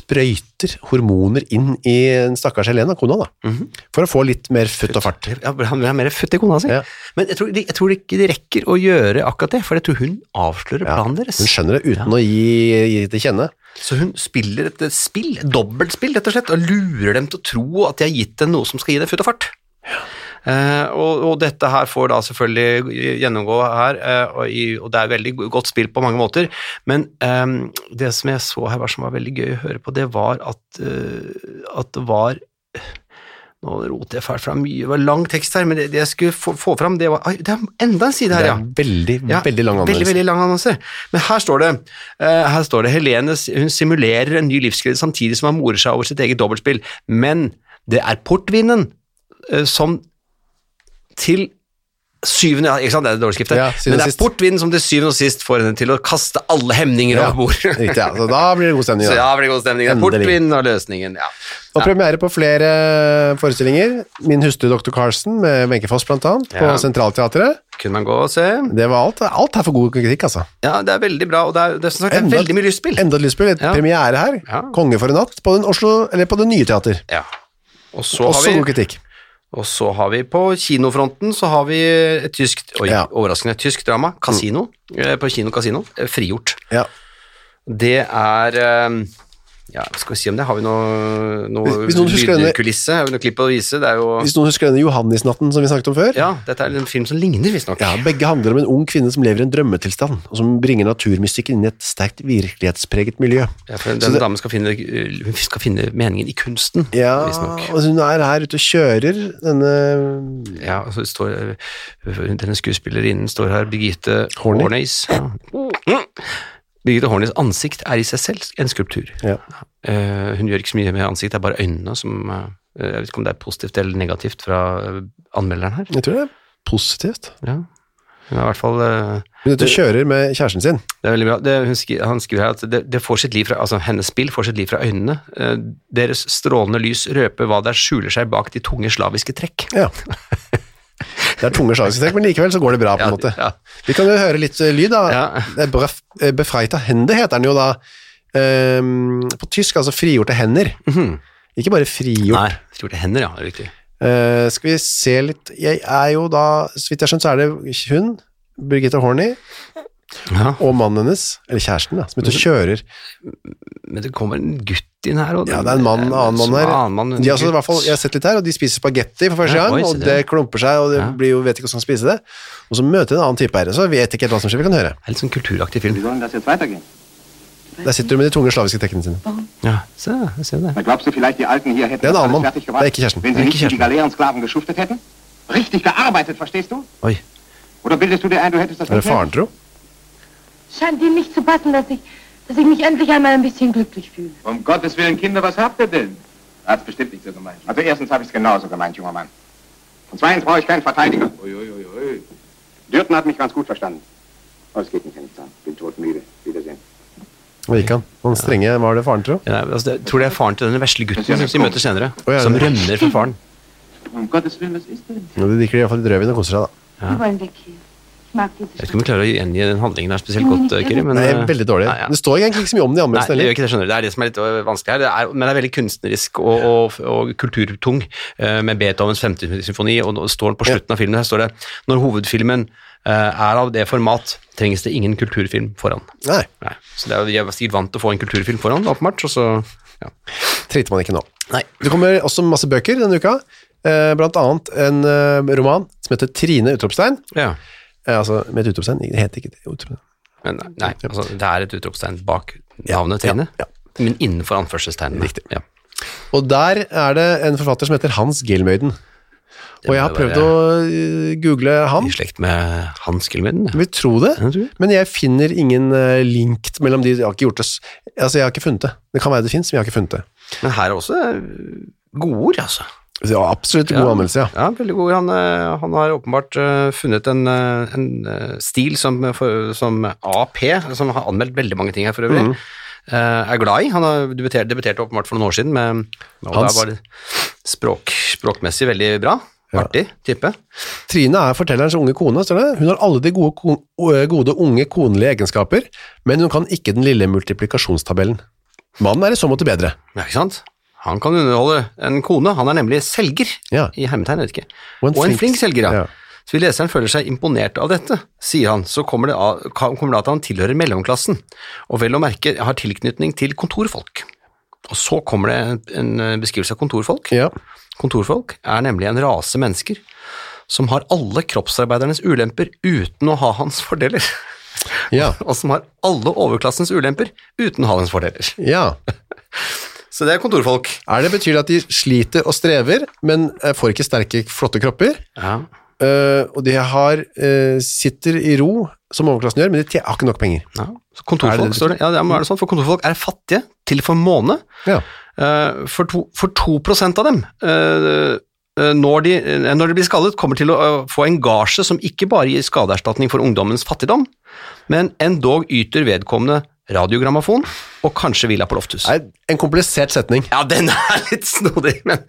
sprøyter hormoner inn i den stakkars Helene, kona, da. Mhm. For å få litt mer futt og fart. Ja, men Han vil ha mer futt i kona si. Ja. Men jeg tror, de- jeg tror ikke de rekker å gjøre akkurat det, for jeg tror hun avslører planen deres. Hun skjønner det uten å gi, gi det til kjenne. Så hun spiller et et spill, et dobbeltspill rett og slett, og lurer dem til å tro at de har gitt dem noe som skal gi dem futt og fart. Eh, og, og dette her får da selvfølgelig gjennomgå her, eh, og, i, og det er veldig go- godt spill på mange måter, men ehm, det som jeg så her var, som var veldig gøy å høre på, det var at, eh, at det var Nå roter jeg fælt fram mye, det var lang tekst her, men det, det jeg skulle få, få fram, det var Ai, det er enda en side Det her, er ja. veldig, Ja, veldig lang anmeldelse. Mm. Veldig, veldig lang annonse. Men her står det, eh, her står det Helene hun simulerer en ny livskrise samtidig som hun morer seg over sitt eget dobbeltspill. Men det er portvinen eh, som til syvende ja, Ikke sant, det er det dårlige skriftet. Ja, syvende men og det er sist. portvinen som til syvende og sist får henne til å kaste alle hemninger Ja, over bord. Riktig, ja. Så da blir det god stemning. Så Da. ja, det blir god stemning. Det er Endelig. portvinen og løsningen, ja. Og premiere på flere eh, forestillinger. Min hustru Dr. Carsten med Wenche Foss blant annet, på Ja. Sentralteatret. Kunne man gå og se. Det var alt. Alt er for god kritikk, altså. Ja, det er veldig bra, og det er, det er, som sagt, det er Enda- veldig mye lystspill. Enda et lystspill. Et Ja. premiere her. Ja. Konge for en natt på, den Oslo, eller på det nye teater. Ja. Og så har Også vi god kritikk. Og så har vi på kinofronten så har vi et tysk, oi, Ja. Mm. overraskende tysk drama, Casino, eh, på Kino Casino, eh, frigjort. Ja. Det er eh, ja, hva skal vi si om det? Har vi noe, noe Hvis- hvis noen husker denne- lydkulisse? Har vi noe klipp å vise? Det er jo Hvis noen husker denne Johannisnatten som vi snakket om før? Ja, dette er en film som ligner, visstnok. Ja, Begge handler om en ung kvinne som lever i en drømmetilstand, og som bringer naturmystikken inn i et sterkt virkelighetspreget miljø. Ja, for Så denne det- damen skal finne, hun skal finne meningen i kunsten, Ja, visstnok. og hun er her ute og kjører denne Ja, og så står, eh, denne skuespillerinnen står her, Birgitte Horny. Horneys. Ja. Birgitte Horneys ansikt er i seg selv en skulptur. Ja. Eh, hun gjør ikke så mye med ansiktet, det er bare øynene som eh, Jeg vet ikke om det er positivt eller negativt fra eh, anmelderen her. Jeg tror det er positivt. Ja. Hun er i hvert fall eh, Hun er ute og kjører med kjæresten sin. Det er veldig bra. Det, hun skri, han skriver her at det, det får sitt liv fra, altså hennes spill får sitt liv fra øynene. Eh, deres strålende lys røper hva der skjuler seg bak de tunge slaviske trekk. Ja. Det er tunge slagiske trekk, men likevel så går det bra, på en måte. ja. Vi kan jo høre litt eh, lyd, da. Ja. Det er bref- eh, Befreita hende heter den jo da. ehm, på tysk, altså frigjorte hender. Mhm. Ikke bare frigjort. Nei, frigjorte hender, ja. det er Riktig. Eh, skal vi se litt Jeg er jo da, så vidt jeg har skjønt, så er det hun, Birgitte Horny, Ja. og mannen hennes, eller kjæresten, da, som Mhm. ute og kjører. Men det kommer en gutt inn her. Og Ja, det er en mann, en annen mann her. Annen mann, en de, har altså, i gutt. hvert fall, jeg har sett litt her, og de spiser spagetti for første Ja, gang, oi, se og det. det klumper seg, og det Ja. blir jo, vet ikke hvordan skal spise det. Og så møter de en annen type her, så vet jeg ikke helt hva som skjer, vi kan høre. Det er litt sånn kulturaktig film. Wie soll denn das jetzt weitergehen? Der sitter du med de tunge slaviske tekkene sine. Ja, se, se det. Na, glaubst du vielleicht, die Alten hier hätten Ja, das da, alles Mann. fertig gemacht, Da, ich Kirsten. wenn sie Ja, nicht wie die Kirsten. Galeerensklaven geschuftet hätten? Richtig gearbeitet, verstehst du? Oi. Oder bildest du dir ein, du hättest das Er det faren, tro? Scheint ihm nicht zu passen, dass ich, dass ich mich endlich einmal ein bisschen glücklich fühle. Um Gottes Willen, Kinder, was habt ihr denn? Hat's bestimmt nicht so gemeint. Also erstens habe ich es genauso gemeint, junger Mann. Und zweitens brauche ich keinen Verteidiger. Uiuiui. Dürten hat mich ganz gut verstanden. Oh, es geht nicht, Herr Nitzan. Bin todmüde. Wiedersehen. Hvor gikk han? Han strenge, var det faren, tro? Ja, altså, jeg tror det er faren til denne vesle gutten som de møter senere, Å, ja, som det. rømmer fra faren. Um Gottes Willen, was ist denn? Ja, de drikker i hvert fall litt rødvin og koser seg, da. Wir wollen weg hier. Ich mag Jeg diese vet ikke om vi klarer å gjengi den handlingen her spesielt godt, eh, Kyrre, men Det er eh, veldig dårlig. Nei, ja. Det står egentlig ikke så mye om det i Nei, anmeldelsen det gjør heller. ikke det, skjønner du. Det er det som er litt øh, vanskelig her, det er, men det er veldig kunstnerisk og, og, og kulturtung eh, med Beethovens 50-symfoni, og nå står den på slutten av filmen her, står det når hovedfilmen eh, er av det format, trengs det ingen kulturfilm foran. Nei, Nei. Så det er, jeg er sikkert vant til å få en kulturfilm foran, åpenbart, og så, ja. trengte man ikke nå. Nei. Det kommer også masse bøker denne uka, eh, blant annet en eh, roman som heter Trine Utropstein, Ja. eh, altså med et utropstein, det heter ikke det, utropstein. Men nei, altså, det er et utropstegn bak navnet Trine, ja, men innenfor anførselstegnene. Riktig. Ja. Og der er det en forfatter som heter Hans Gilmøyden. Og jeg har må prøvd være å eh, google han. I slekt med Hans Gilmøyden, ja. Vil tro det, Ja, tror jeg. men jeg finner ingen eh, link mellom de. Jeg har ikke gjort det. s- Altså, jeg har ikke funnet det. Det kan være det finnes, men jeg har ikke funnet det. Men her er også eh, gode ord, altså. Så ja, absolutt god anmeldelse, ja. Ja, veldig god. Han, eh, han har åpenbart eh, funnet en, eh, en eh, stil som, eh, for- som AP, som har anmeldt veldig mange ting her for øvrig, Mm. eh, er glad i. Han har debutert, debuterte åpenbart for noen år siden med og Hans- da var det språk, språkmessig veldig bra. Artig type. Trine er fortellerens unge kone, står det. Hun har alle de gode, kon- ø, gode unge konelige egenskaper, men hun kan ikke den lille multiplikasjonstabellen. Mannen er i så måte bedre. Ja, ikke sant? Han kan underholde en kone. Han er nemlig selger, Ja. i hermetegn, jeg vet ikke. Og en, flink, selger, ja. Så hvis leseren føler seg imponert av dette, sier han, så kommer det, av, ka- kommer det at han tilhører mellomklassen, og vel å merke har tilknytning til kontorfolk. Og så kommer det en, en beskrivelse av kontorfolk. Ja. Kontorfolk er nemlig en rase mennesker som har alle kroppsarbeidernes ulemper uten å ha hans fordeler, Ja. og som har alle overklassens ulemper uten å ha hans fordeler. ja. Så det er kontorfolk. Er det betyr det at de sliter og strever, men eh, får ikke sterke, flotte kropper? Ja. Eh, og de har, eh, sitter i ro, som overklassen gjør, men de tje- har ikke nok penger. Ja. Så kontorfolk, Er det det står det. Ja, det er, er det sånn, for kontorfolk er fattige til for måned. Ja. Eh, for, to, for 2 av dem, eh, eh, når, de, eh, når de blir skadet, kommer til å eh, få en gasje som ikke bare gir skadeerstatning for ungdommens fattigdom, men endog yter vedkommende radiogrammofon og kanskje villa på Lofthus. Nei, en komplisert setning. Ja, den er litt snodig, men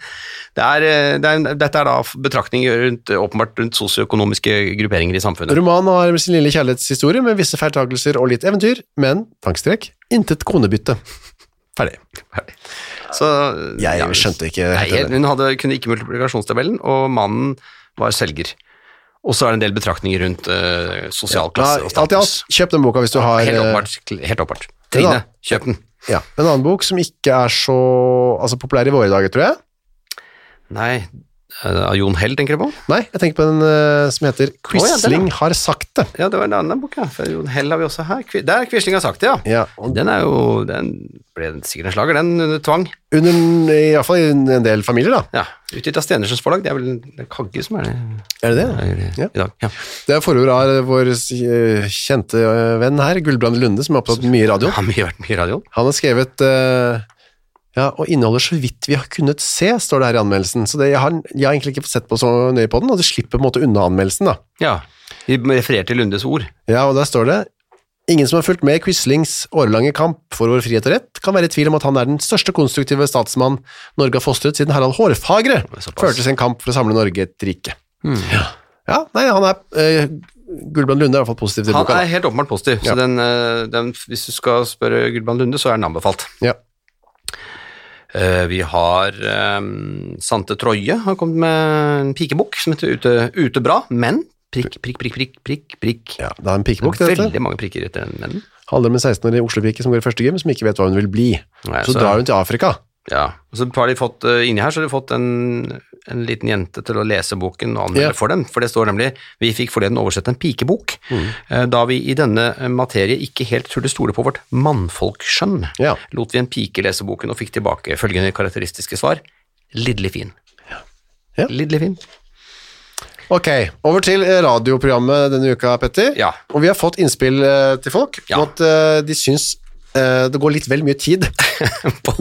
det er, eh, det er, dette er da betraktninger rundt, åpenbart rundt sosioøkonomiske grupperinger i samfunnet. Romanen har sin lille kjærlighetshistorie med visse feiltakelser og litt eventyr, men, tankstrek, intet konebytte. Ferdig. Så, eh, Jeg skjønte ikke Nei, helt det. hun hadde, kunne ikke multiplikasjonstabellen, og mannen var selger. Og så er det en del betraktninger rundt eh, sosial klasse og Nei, alt i alt, status. kjøp den boka hvis du har Helt eh, åpenbart. Helt åpenbart. Trine, da. kjøp den. ja. En annen bok som ikke er så altså, populær i våre dager, tror jeg. Nei, eh, av Jon Hell tenker jeg på. Nei, jeg tenker på den eh, som heter Quisling har sagt det. Ja, det var en annen bok, ja. For Jon Hell har vi også her. Kvi- Der Quisling har sagt det, ja. Ja, og Den er jo Den ble sikkert en slager, den, under tvang. under, I hvert fall i en en del familier, da. Ja. Utgitt av Stenersens forlag. Det er vel det er Kagge som er det Er det er det Ja. i dag. Ja. Det er forord av vår eh, kjente eh, venn her, Gullbrand Lunde, som er opptatt med mye radio. Det har mye vært mye i radioen. Han har skrevet eh, ja, og inneholder så vidt vi har kunnet se, står det her i anmeldelsen. Så det, jeg, har, jeg har egentlig ikke fått sett på så nøye på den, og det slipper på en måte unna anmeldelsen. da. Ja. Vi refererer til Lundes ord. Ja, og der står det Ingen som har fulgt med i Quislings årelange kamp for vår frihet og rett, kan være i tvil om at han er den største konstruktive statsmann Norge har fostret siden Harald Hårfagre Såpass. Hmm. førte sin kamp for å samle Norge i et rike. Ja. ja, nei, han er eh, Gullbrand Lunde er i hvert fall positiv til Han boka. er helt åpenbart positiv, Ja. så den, eh, den, hvis du skal spørre Gudbrand Lunde, så er den anbefalt. da. Ja. Eh, Vi har ehm, Sante Troje, har kommet med en pikebok som heter Ute, Ute bra, men prikk, prikk, prikk, prikk, prikk, prikk. ja, det er en Det pikebok, er det dette. Veldig mange prikker etter den mennen. Handler om en 16-årig Oslo-pike som går i første gym, som ikke vet hva hun vil bli. Nei, så, så- drar hun til Afrika. Ja, og så har de fått, eh, inni her så har de fått en, en liten jente til å lese boken og anmelde Ja. for dem, for det står nemlig, vi fikk forleden oversett en pikebok, Mm. eh, da vi i denne eh, materie ikke helt turde stole på vårt mannfolkskjønn, Ja. lot vi en pike lese boken og fikk tilbake følgende karakteristiske svar, lidderlig fin. Ja. Lidderlig fin. Ok, over til eh, radioprogrammet denne uka, Petter. Ja. Og vi har fått innspill eh, til folk Ja. om at eh, de syns eh, det går litt vel mye tid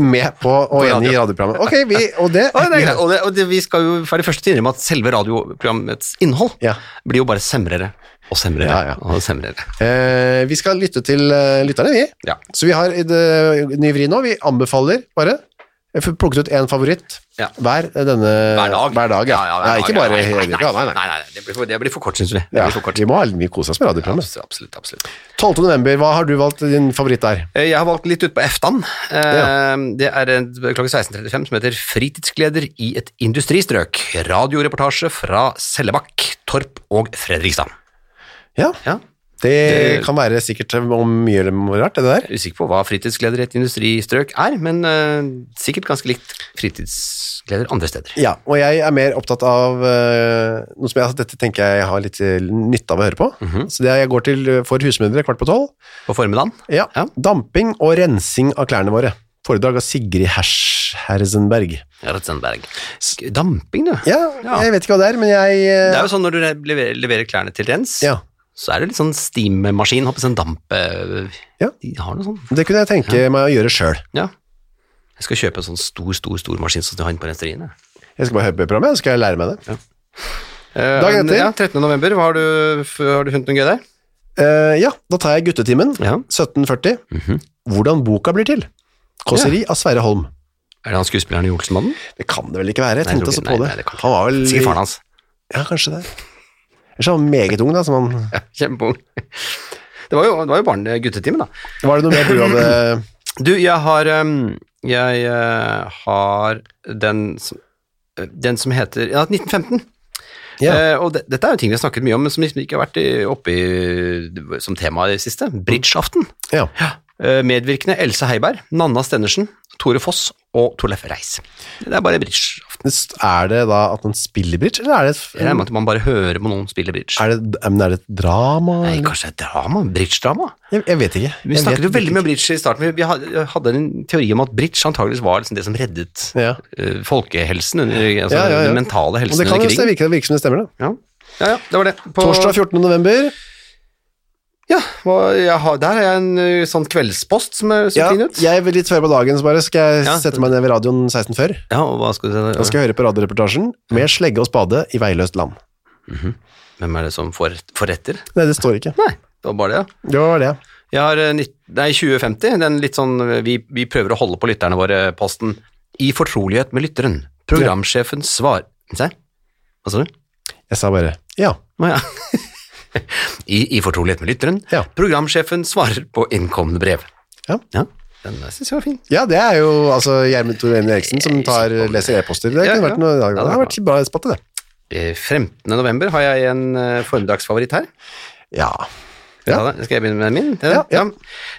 med på å gjengi radio. radioprogrammet. Ok, vi, og det, Å, det er greit. Og, det, og det, vi skal jo være de første til å innrømme at selve radioprogrammets innhold Ja. blir jo bare semrere og semrere Ja, ja. og semrere. Eh, vi skal lytte til eh, lytterne, vi. Ja. Så vi har i det, ny vri nå. Vi anbefaler bare. Jeg får plukket ut én favoritt Ja. hver eh, denne Hver dag. ja. Ja, ja, hver Nei, dag, ikke ja. bare Nei, hele nei, uka. Nei, nei. Nei, nei, nei, det blir for, det blir for kort, syns vi. Det Ja, blir for kort. vi må ha mye kose oss med radioprogrammet. Absolutt, absolutt, absolutt. 12. november, hva har du valgt din favoritt der? Eh, Jeg har valgt litt ut på eftan. Eh, Det er en klokka 16.35 som heter Fritidsgleder i et industristrøk. Radioreportasje fra Sellebakk, Torp og Fredrikstad. Ja, Ja. Det, Det- kan være sikkert eh, om mye eller om rart, det der. Jeg er usikker på hva fritidsgleder i et industristrøk er, men eh, sikkert ganske likt fritidsgleder andre steder. Ja, og jeg er mer opptatt av eh, noe som jeg, altså, dette tenker jeg har litt eh, nytte av å høre på. Så det er- jeg går til eh, for husmødre kvart på tolv. På formiddagen? Ja. Ja. Damping og rensing av klærne våre. Foredrag av Sigrid Hersh Herzenberg. Ratzenberg. Damping, du. Ja, Ja. jeg vet ikke hva det er, men jeg... eh, Det er jo sånn når du re- leverer, leverer klærne til rens, Ja, så er det litt sånn steammaskin, hoppes en damp eh, Ja. De har noe sånn. det kunne jeg tenke meg å gjøre selv. Ja. Jeg skal kjøpe en sånn stor, stor, stor maskin som du har inne på renseriene. Jeg skal bare høre på programmet, så skal jeg lære meg det. Eh, Dagen etter? Ja, 13. november. Hva har, du, f- har du funnet noe gøy der? Eh, ja, da tar jeg guttetimen, Ja. Mhm. 1740. Hvordan boka blir til. Kåseri av Sverre Holm. Er det han skuespilleren i Olsenmannen? Det kan det vel ikke være, jeg Nei, jeg tenkte tror også ikke- på nei, det. nei, det kan ikke han var vel... Sikkert faren hans. Ja, kanskje det. Ellers var han meget ung da, som han... Ja, Kjempeung. Det var jo, det var jo barne guttetime, da. Var det noe mer du hadde... Du, jeg har ehm, Jeg eh, har den som, den som heter Ja, 1915. Ja. Eh, og det, dette er jo ting vi har snakket mye om, men som liksom ikke har vært i, oppe i, som tema i det siste. Bridgeaften. Ja. Eh, medvirkende Else Heiberg, Nanna Stenersen, Tore Foss og Torleif Reis. Det er bare bridgeaften. Er det da at man spiller bridge, eller er det... Jeg regner med at man bare hører på noen spille bridge. Mm. Er det, men er det et drama? Nei, eller? kanskje det er drama? Bridge-drama? Jeg, jeg vet ikke. Vi Jeg snakket vet jo veldig mye ikke. om bridge i starten. Vi, vi hadde hadde en teori om at bridge antageligvis var liksom det som reddet Ja. eh, folkehelsen, under, altså Ja, ja, ja. den mentale Og helsen det kan under jo se- krigen. virke, det virker som det stemmer, da. Ja. ja, ja, det var det. På- Torsdag 14. november. Ja, hva- jeg har, der er jeg en eh, sånn kveldspost som er- ser Ja, fin ut. jeg vil litt før på dagen, så bare skal jeg Ja. sette meg ned ved radioen 16 før. Ja, og hva skal du Da si? skal jeg høre på radioreportasjen med slegge og spade i veiløst land. Hvem er det som får, får etter? Nei, det står ikke. Nei, det var bare det, ja. Det var det. Jeg har eh, nitt- nei, 2050, den litt sånn eh, vi, vi prøver å holde på lytterne våre, posten. I fortrolighet med lytteren. Programsjefen svar... Se, hva sa du? Jeg sa bare ja. Å ja. I, I fortrolighet med lytteren. Ja. Programsjefen svarer på innkomne brev. Ja. Den syns jeg var fin. Ja, det er jo altså Gjermund Torén Eriksen som tar, leser e-poster. Det, Ja, kunne ja. vært noe, det Ja, det har vært bra spatte, det. Eh, 15. november har jeg en eh, formiddagsfavoritt her. Ja. Skal jeg Ja. ta den? Skal jeg begynne med den min? Det, Ja, ja.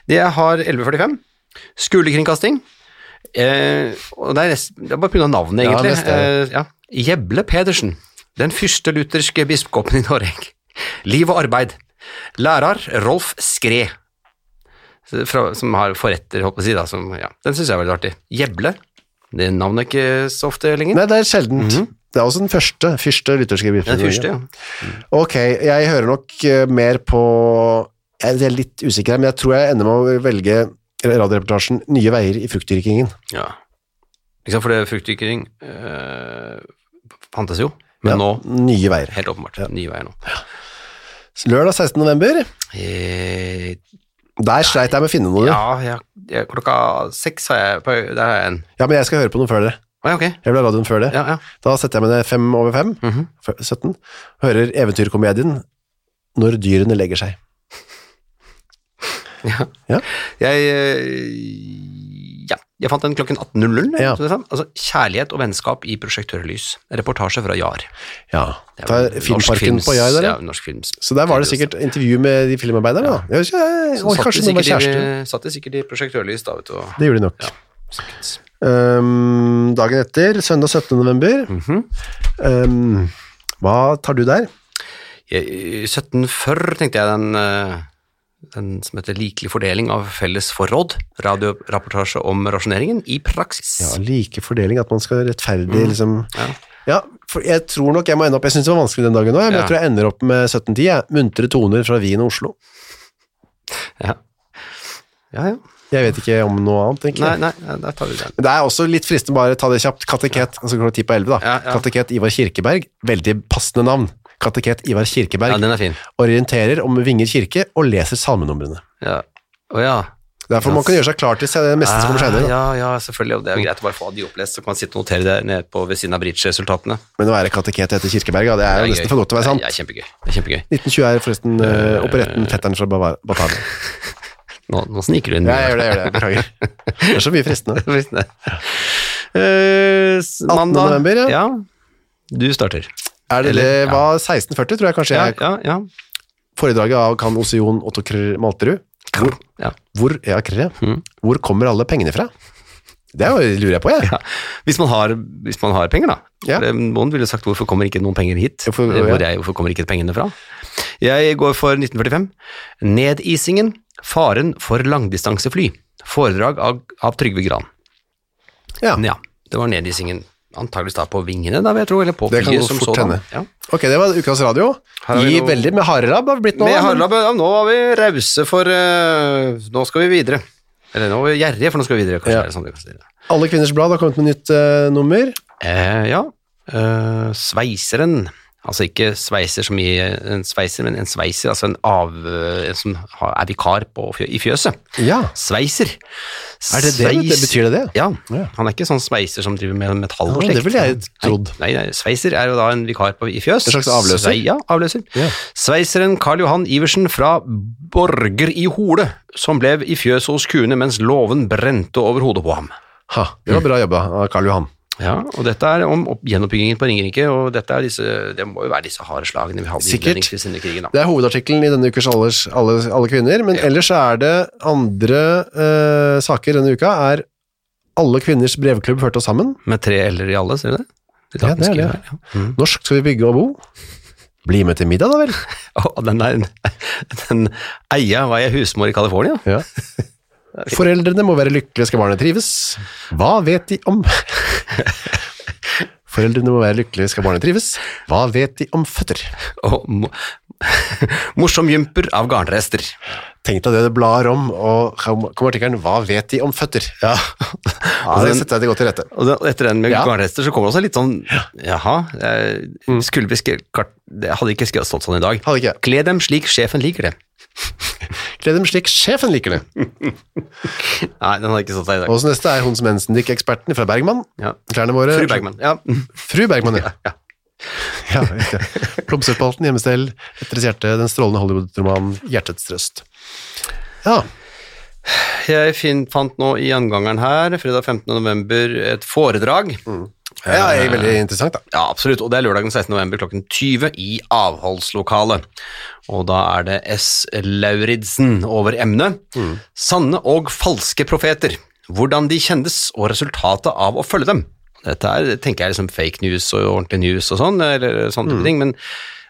Det jeg har 11.45. Skolekringkasting. Eh, og det er, rest, det er bare pga. navnet, Ja, egentlig. mest det. eh, ja. Jeble Pedersen. Den første lutherske biskopen i Norge. Liv og arbeid. Lærer Rolf Skred. Fra, som har forretter, holdt på å si. Da, som, ja. Den syns jeg er veldig artig. Jeble. Det navnet er ikke så ofte lenger. Nei, det er sjeldent. Det er også den første Mhm. første lytterske Den første, ja. Ok, jeg hører nok eh, mer på Jeg er litt usikker her, men jeg tror jeg ender med å velge radioreportasjen Nye veier i fruktdyrkingen. ja. Ikke sant, for det er fruktdykking eh, fantes jo, men Ja, nå Nye veier. Helt åpenbart. Nye veier nå. Lørdag 16. november. Eh, Der sleit jeg med å finne noe. Ja. ja, jeg, jeg, klokka seks har jeg på, Der har jeg en. men jeg skal høre på noe før dere. Å, ja, ok. Jeg vil ha radioen før det. Ja, ja. Da setter jeg meg ned fem over fem, Mhm. f- 17, hører eventyrkomedien Når dyrene legger seg. Jeg, eh, ja. jeg fant den klokken 18.00. Ja. som det sa. Altså, kjærlighet og vennskap i Prosjektørlys. Reportasje fra JAR. Ja, Det er Ta vel norsk filmparken films- på jeg der. Ja, da. norsk films. Så der var det sikkert intervju med de filmarbeiderne, da. Jeg vet ikke, jeg, Så og satt de kanskje noen var sikkert i- kjæreste. Satt de sikkert i Prosjektørlys, da, vet du. og- Det gjorde de nok. sikkert. Um, dagen etter, søndag 17. november. Mhm. um, hva tar du der? Jeg- 1740 tenkte jeg den, eh, den som heter Likelig fordeling av felles forråd. Radiorapportasje om rasjoneringen i praksis. Ja, like fordeling, at man skal rettferdig, liksom. Mhm. Ja. Ja, for jeg tror nok jeg må ende opp, jeg synes det var vanskelig den dagen også, men Ja. jeg tror jeg ender opp med 1710, jeg. muntre toner fra Wien og Oslo. Ja, ja. ja. Jeg vet ikke om noe annet, egentlig. Nei, nei, nei, da tar vi den. Men det er også litt fristende bare ta det kjapt. Kateket, altså klokka ti på elleve, da. Ja, ja. Kateket Ivar Kirkeberg, veldig passende navn. Kateket Ivar Kirkeberg Ja, den er fin. orienterer om Vinger kirke og leser salmenumrene. Ja. Å ja. Derfor man kan gjøre seg klar til se- det meste som kommer Ah, senere. ja, ja, selvfølgelig. Og det er jo greit å bare få de opplest, så kan man sitte og notere det nede på ved siden av bridge-resultatene. Men å være kateket etter Kirkeberg, ja, det er jo nesten gøy. for godt til å være sant. Det er kjempegøy. Det er kjempegøy. 1920 er forresten eh, operetten Fetteren fra Bavar- Batavia. Nå, nå sniker du inn. Ja, jeg gjør det, jeg gjør det. Beklager. Det er så mye fristende. Visst det. Eh, s- 18. mandag. november, ja. ja. Du starter. Er det, Eller- det var 1640, tror jeg kanskje Ja, jeg ja, ja. Foredraget av Kan Osion Otto Krr Malterud. Hvor, Ja. hvor, ja, Krr, ja. Mm. hvor kommer alle pengene fra? Det er jo- lurer jeg på, jeg. Ja. Hvis, man har, hvis man har penger, da. Ja. For, eh, Noen ville sagt 'hvorfor kommer ikke noen penger hit'? Ja, for- Eh, Hvor ja. er, hvorfor kommer ikke pengene fra? Jeg går for 1945. 'Nedisingen. Faren for langdistansefly'. Foredrag av, av Trygve Gran. Ja. Ja, det var nedisingen. Antageligvis da på vingene, da, vil jeg tro. Eller på Det kan flyet gå som fort sådan. hende. Ja. Ok, det var ukas radio. Her har vi I noe- veldig med harelabb har det blitt nå. Med da, men- Harald, ja, nå var vi rause for eh, Nå skal vi videre. Eller nå var vi gjerrige, for nå skal vi videre. Kanskje Ja. er det sånn vi kan si det. Alle Kvinners Blad har kommet med nytt eh, nummer. Eh, ja. Eh, sveiseren. Altså ikke sveiser som i en sveiser, men en sveiser, altså en, av, en som har- er vikar på, fjø- i fjøset. Ja. Sveiser. Er det det? Sveis- Det betyr det det? Ja. Ja. Han er ikke sånn sveiser som driver med metall og Ja, det slikt. ville jeg trodd. Nei, nei, sveiser er jo da en vikar på, i fjøs. En slags avløser? Svei, ja, avløser. Ja. Sveiseren Karl Johan Iversen fra Borger i Hole, som ble i fjøset hos kuene mens låven brente over hodet på ham. Ha, det var bra jobba av Karl Johan. Ja, og dette er om opp, gjenoppbyggingen på Ringerike, og dette er disse, det må jo være disse harde slagene vi hadde Sikkert. innledningsvis under krigen. Da. Det er hovedartikkelen i denne ukers Alles, alle, alle kvinner, men ellers er det andre eh, saker denne uka, er alle kvinners brevklubb førte oss sammen. Med tre l-er i alle, ser du det? Ja, det er det. Ja. Norsk skal vi bygge og bo. Bli med til middag da vel. Og den der, den eia var jeg husmor i California. Ja. Foreldrene må være lykkelige skal barnet trives. Hva vet de om... Foreldrene må være lykkelige skal barnet trives. Hva vet de om føtter? Og mo morsom jumper av garnrester. Tenk deg det det blar om, og kommer artikkelen «Hva vet de om føtter?» Ja, Altså, Og det den- setter jeg det godt til rette. Og da- og etter den med Ja. Mm. garnrester så kommer det også litt sånn Jaha, eh, skulle vi skrevet kart- Det hadde ikke skrevet sånn, sånn i dag. Hadde ikke. Kle dem slik sjefen liker det. Gled dem slik sjefen liker det. Nei, den hadde ikke stått der i dag. Og så neste er Hons Mensendikk-eksperten fra Bergman. Ja. Klærne våre. Fru Bergman. Ja. Fru Bergman, ja. ja. ja Blomsterspalten, hjemmestell, Etteres hjerte, den strålende Hollywood-romanen Hjertets trøst. Ja, Jeg fin, fant nå i angangeren her, fredag 15. november, et foredrag. Mm. ja eh, det er veldig interessant da. Ja, absolutt, og det er lørdag den 16. november klokken 20 i avholdslokalet. Og da er det S. Lauridsen over emnet. Mm. Sanne og falske profeter. Hvordan de kjendes og resultatet av å følge dem. Dette er, tenker jeg, liksom fake news og ordentlig news og sånn, eller sånne Mm. type ting, men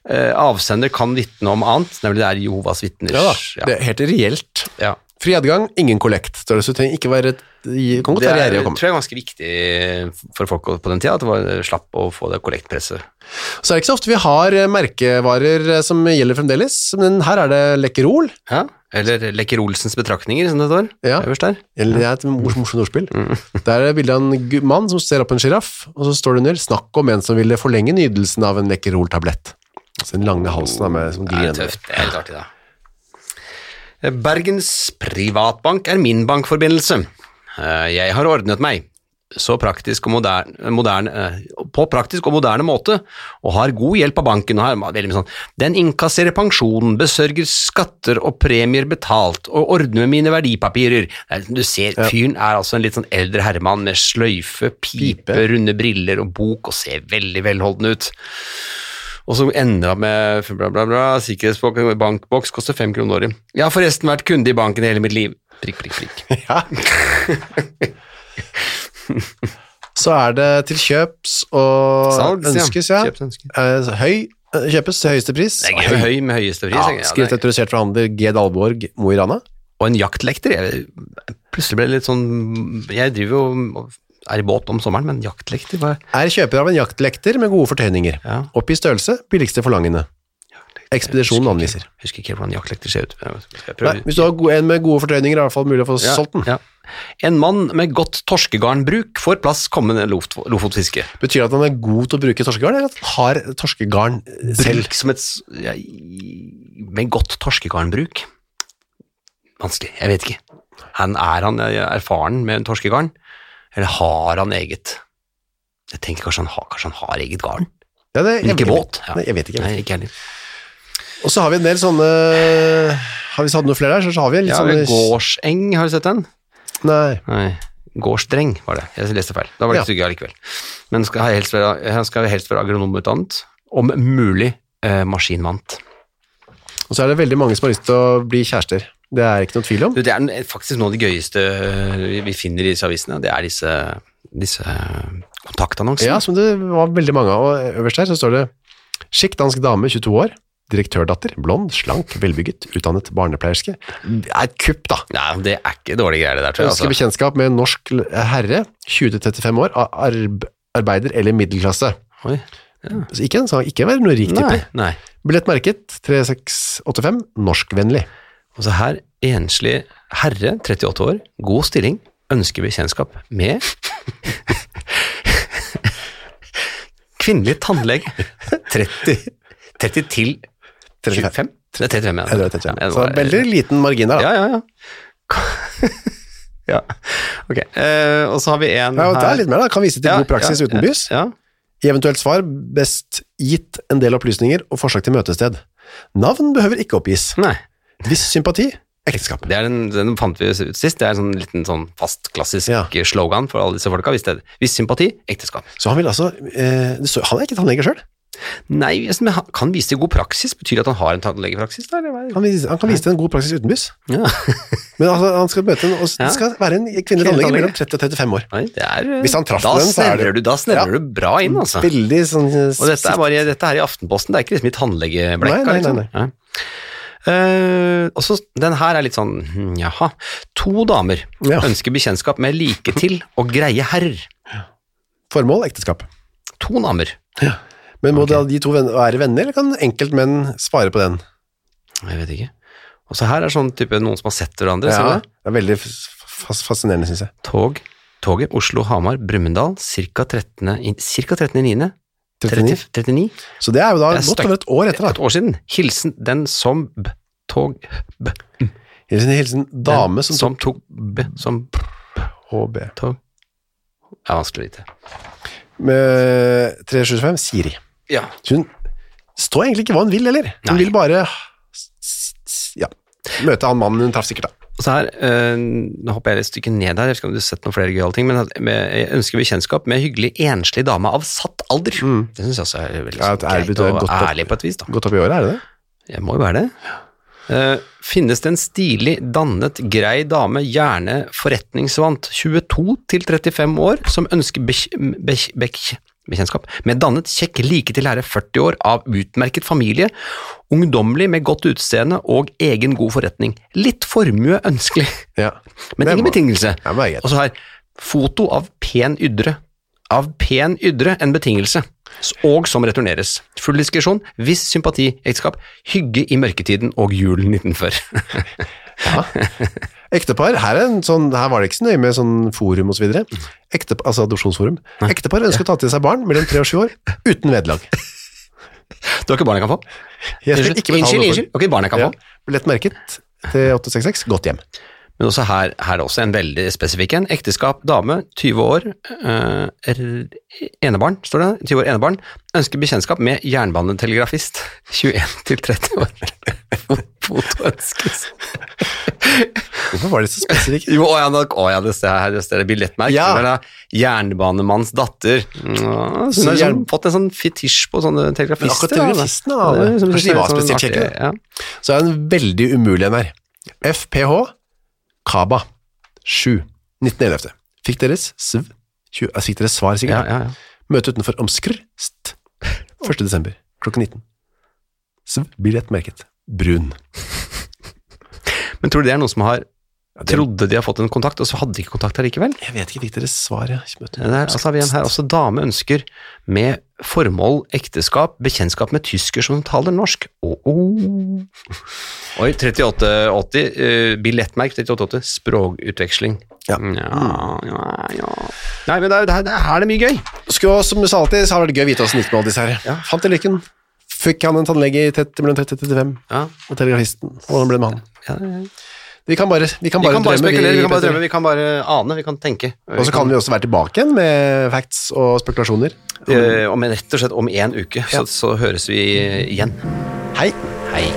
eh, avsender kan vitne om annet, nemlig det er Jehovas vitner. Ja da, Ja. det er helt reelt. ja. Fri adgang, ingen kollekt. Så du trenger ikke være... Det kan godt Det være er, gjerrig å komme. tror jeg er ganske viktig for folk på den tida, at det var eh, slapp å få det kollektpresset. Så er det ikke så ofte vi har eh, merkevarer eh, som gjelder fremdeles, men her er det Lekkerol, Ja? Eller Lekker Olsens betraktninger, som det står Ja. øverst der. eller det er et mors- morsomt ordspill. Der er det bildet av en gu- mann som ser opp en giraff, og så står det under «Snakk om en som ville forlenge nydelsen av en Lekkerol-tablett». Så den lange halsen er med sånn som Det glir er tøft. Det er litt artig, da. Bergens Privatbank er min bankforbindelse. Eh, Jeg har ordnet meg. Så praktisk og moderne, moderne, eh, på praktisk og moderne måte, og har god hjelp av banken. Og her, er det veldig mye sånn, den innkasserer pensjonen, besørger skatter og premier betalt, og ordner med mine verdipapirer. Det er- liksom, Du ser, fyren er altså en litt sånn eldre herremann med sløyfe, pipe, Pipe. runde briller og bok, og ser veldig velholden ut. Og så endra med bla, bla, bla. Sikkerhetsbok, bankboks koster fem kroner året. Jeg har forresten vært kunde i banken hele mitt liv. Prikk, prikk, prikk. Ja. Så er det til kjøps og Salgs, ja. ønskes, ja. Kjøps, ønskes. Eh, Høy, eh, kjøpes til høyeste pris. Det er gøy med høy med høyeste pris. Ja, tenker jeg. skrivet det er- autorisert forhandler G. Dalborg, Mo i Rana. og en jaktlekter. Jeg, plutselig ble det litt sånn Jeg driver jo og er i båt om sommeren, men jaktlekter hva er- Er kjøper av en jaktlekter med gode fortøyninger. Ja. Opp i størrelse, billigste forlangende. Ekspedisjonen anviser. Jeg husker ikke hvordan jaktlekter ser ut. Skal jeg prøve? Nei, hvis du har go- en med gode fortøyninger, er det i hvert fall mulig å få Ja, solgt den. ja. En mann med godt torskegarnbruk får plass kommende loft- lofotfiske. Betyr det at han er god til å bruke torskegarn, eller at han har torskegarn selv? Bruk som et s- ja, i- Med godt torskegarnbruk. Vanskelig, jeg vet ikke. Han, er han eh, erfaren med en torskegarn, eller har han eget? Jeg tenker kanskje han har, kanskje han har eget garn, Ja, det, men jeg ikke vet- båt. Ja. Nei, jeg vet ikke. Nei, ikke heller. Og så har vi en del sånne har vi hatt noen flere der, så har vi litt sånn Ja, sånne gårdseng, har du sett den? Nei. Nei. Gårdsdreng var det. Jeg leste feil. Da var det ikke så gøy allikevel. Men skal jeg helst være, jeg skal helst være agronomutdannet. Om mulig eh, maskinvant. Og så er det veldig mange som har lyst til å bli kjærester. Det er ikke noe tvil om. Du, det er den- faktisk noe av det gøyeste øh, vi- vi finner i disse avisene. Det er disse, disse eh, kontaktannonsene. Ja, som det var veldig mange av. Og øverst her så står det Skikk dansk dame, 22 år. Direktørdatter. Blond, slank, velbygget. Utdannet barnepleierske. Det er et kupp, da. Nei, det er ikke dårlige greier, det der, tror jeg. Ønsker Altså. bekjentskap med en norsk l- herre, 20-35 år, av arb arbeider eller middelklasse. Oi. Så ikke en, sånn- ikke være noe rik Nei, type. nei. Billettmerket 3685, norskvennlig. Og så her, enslig herre, 38 år, god stilling, ønsker bekjentskap med Kvinnelig tannlege, 30, 30 til 25? Det er 35, ja. Ja, det vet jeg ikke. Ja, det Så var- veldig liten margin der, da. Ja, ja, ja. ja. Ok, eh, og så har vi en Ja, og det her. er litt mer da, kan vise til Ja, god praksis ja, utenbys. Ja, I eventuelt svar, best gitt en del opplysninger og forslag til møtested. Navn behøver ikke oppgis. Nei, Viss sympati, ekteskap. det er den, den fant vi ut sist. Det er en sånn liten sånn fast, klassisk Ja. slogan for alle disse folka. Hvis, det, hvis sympati, ekteskap. Så han vil altså, eh, det står- han er ikke tannlege selv. Nei, altså, men han kan vise til god praksis. Betyr det at han har en tannlegepraksis? da, eller hva? Han, vis- han kan vise til en god praksis utenbys. Ja. Men altså, han skal møte en, og Ja. det skal være en kvinnelig tannlege mellom 30 og 35 år. Nei, det er, eh, Hvis han traff da den, så er snevrer det- du, Da snevrer du Ja. bra inn, altså. Veldig sånn... Og dette er, bare, dette er i Aftenposten, det er ikke liksom i tannlegeblekka. Nei, nei, liksom. nei, nei. Ja. Eh, og så, den her er litt sånn, hm, jaha. To damer Ja. ønsker bekjennskap med like til og greie herrer. Formål, ekteskap. To damer. Men må da de to venn- være venner, eller kan enkeltmenn svare på den? Jeg vet ikke. Og så her er sånn type noen som har sett hverandre. ser du det? Det er veldig f- fas- fascinerende, synes jeg. Tog, toget Oslo-Hamar, Brumunddal, ca. 13.9. 13. 39. 39. Så det er jo da Det er godt støkk- over et år etter, da. Et år siden. Hilsen den som b, tog b, Hilsen, hilsen dame den som, som tok b, som b, HB. tog. Det er vanskelig å vite. Med 375, Siri. Ja. Så hun står egentlig ikke hva hun vil, eller? Hun Nei. vil bare s- s- ja, møte han mannen hun traff sikkert, da. Og så her, øh, Nå hopper jeg et stykke ned her, jeg vet ikke om du har sett noen flere gøyale ting, men at- med, jeg ønsker bekjentskap med hyggelig enslig dame av satt alder. Det syns jeg også er veldig Mm. Ja, sånn, at ærlig greit betyr og godt opp- ærlig på et vis. da. Godt opp i året, er det det? Jeg må jo være det. Eh, finnes det en stilig, dannet, grei dame, gjerne forretningsvant, 22 til 35 år, som ønsker bek- bek- bek- bekjentskap med dannet, kjekk, like til herre, 40 år, av utmerket familie, ungdommelig med godt utseende og egen god forretning. Litt formue ønskelig, Ja. men Det ingen må- betingelse. Ja, men det er greit. Og så her, foto av pen ydre. Av pen ydre en betingelse, s- og som returneres. Full diskresjon, viss sympati, ekteskap, hygge i mørketiden og julen 1940. Ektepar, her, er en sånn, her var det ikke så nøye med sånn forum og så videre. Ektep- altså adopsjonsforum. Ektepar ønsker å ta til seg barn mellom 3 og 7 år, uten vedlag. Du har ikke barn jeg kan få? Jeg skal Unnskyld, ikke betale unnskyld, noe for- unnskyld. Ok, barn jeg kan Ja. få. Billett merket til 866, godt hjem. Men også her, her er det også en veldig spesifikk en. Ekteskap, dame, 20 år, eh, er- enebarn, står det. 20 år enebarn. Ønsker bekjentskap med jernbanetelegrafist. 21 til 30 år. Foto ønskes. Hvorfor var det så spesifikt? Jo, å ja, da- å ja, det ser jeg her, det ser jeg billettmerk. Ja. Det er da Jernbanemanns datter. Ja, så hun har liksom fått en sånn fetisj på sånne Men telegrafister. akkurat da, da. telegrafistene, da, Ja, det er liksom- kanskje de var sånn spesielt kjekke, artig, Ja. Så er det en veldig umulig en her. FPH, Kaba, 7, 1911. Fikk deres sv, 20, eh, fikk deres svar Ja, sikkert. ja, ja. Møte utenfor Omskr, st, 1. desember, klokken 19. Sv, billett merket. Brun. Men tror du det er noen som har Ja, det- trodde de har fått en kontakt, og så hadde de ikke kontakt allikevel? Jeg vet ikke, fikk deres svar, ja. Møte Det er, altså, har vi en her også dame ønsker med formål, ekteskap, bekjentskap med tysker som taler norsk. Åh, åh. Oi, 3880, eh, billettmerk 3880, språkutveksling. Mm, Ja. ja, ja, ja. Nei, men det er, det er, det er her det er mye gøy. Skulle også, som du sa alltid, så har det vært gøy å vite hvordan det gikk med alle disse her. Fant til lykken. Fikk han en tannlege i 30, mellom 30 og 35, Ja. og telegrafisten. og Hvordan ble det med han? Ja, ja, ja. Vi kan bare, vi kan Vi bare, kan bare drømme, spekulere, vi kan bare Petter. drømme, vi kan bare ane, vi kan tenke. Og så kan vi også være tilbake igjen med facts og spekulasjoner. Eh, om, en- rett og slett om en uke, så, så høres vi igjen. Hei! Hei.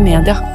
media.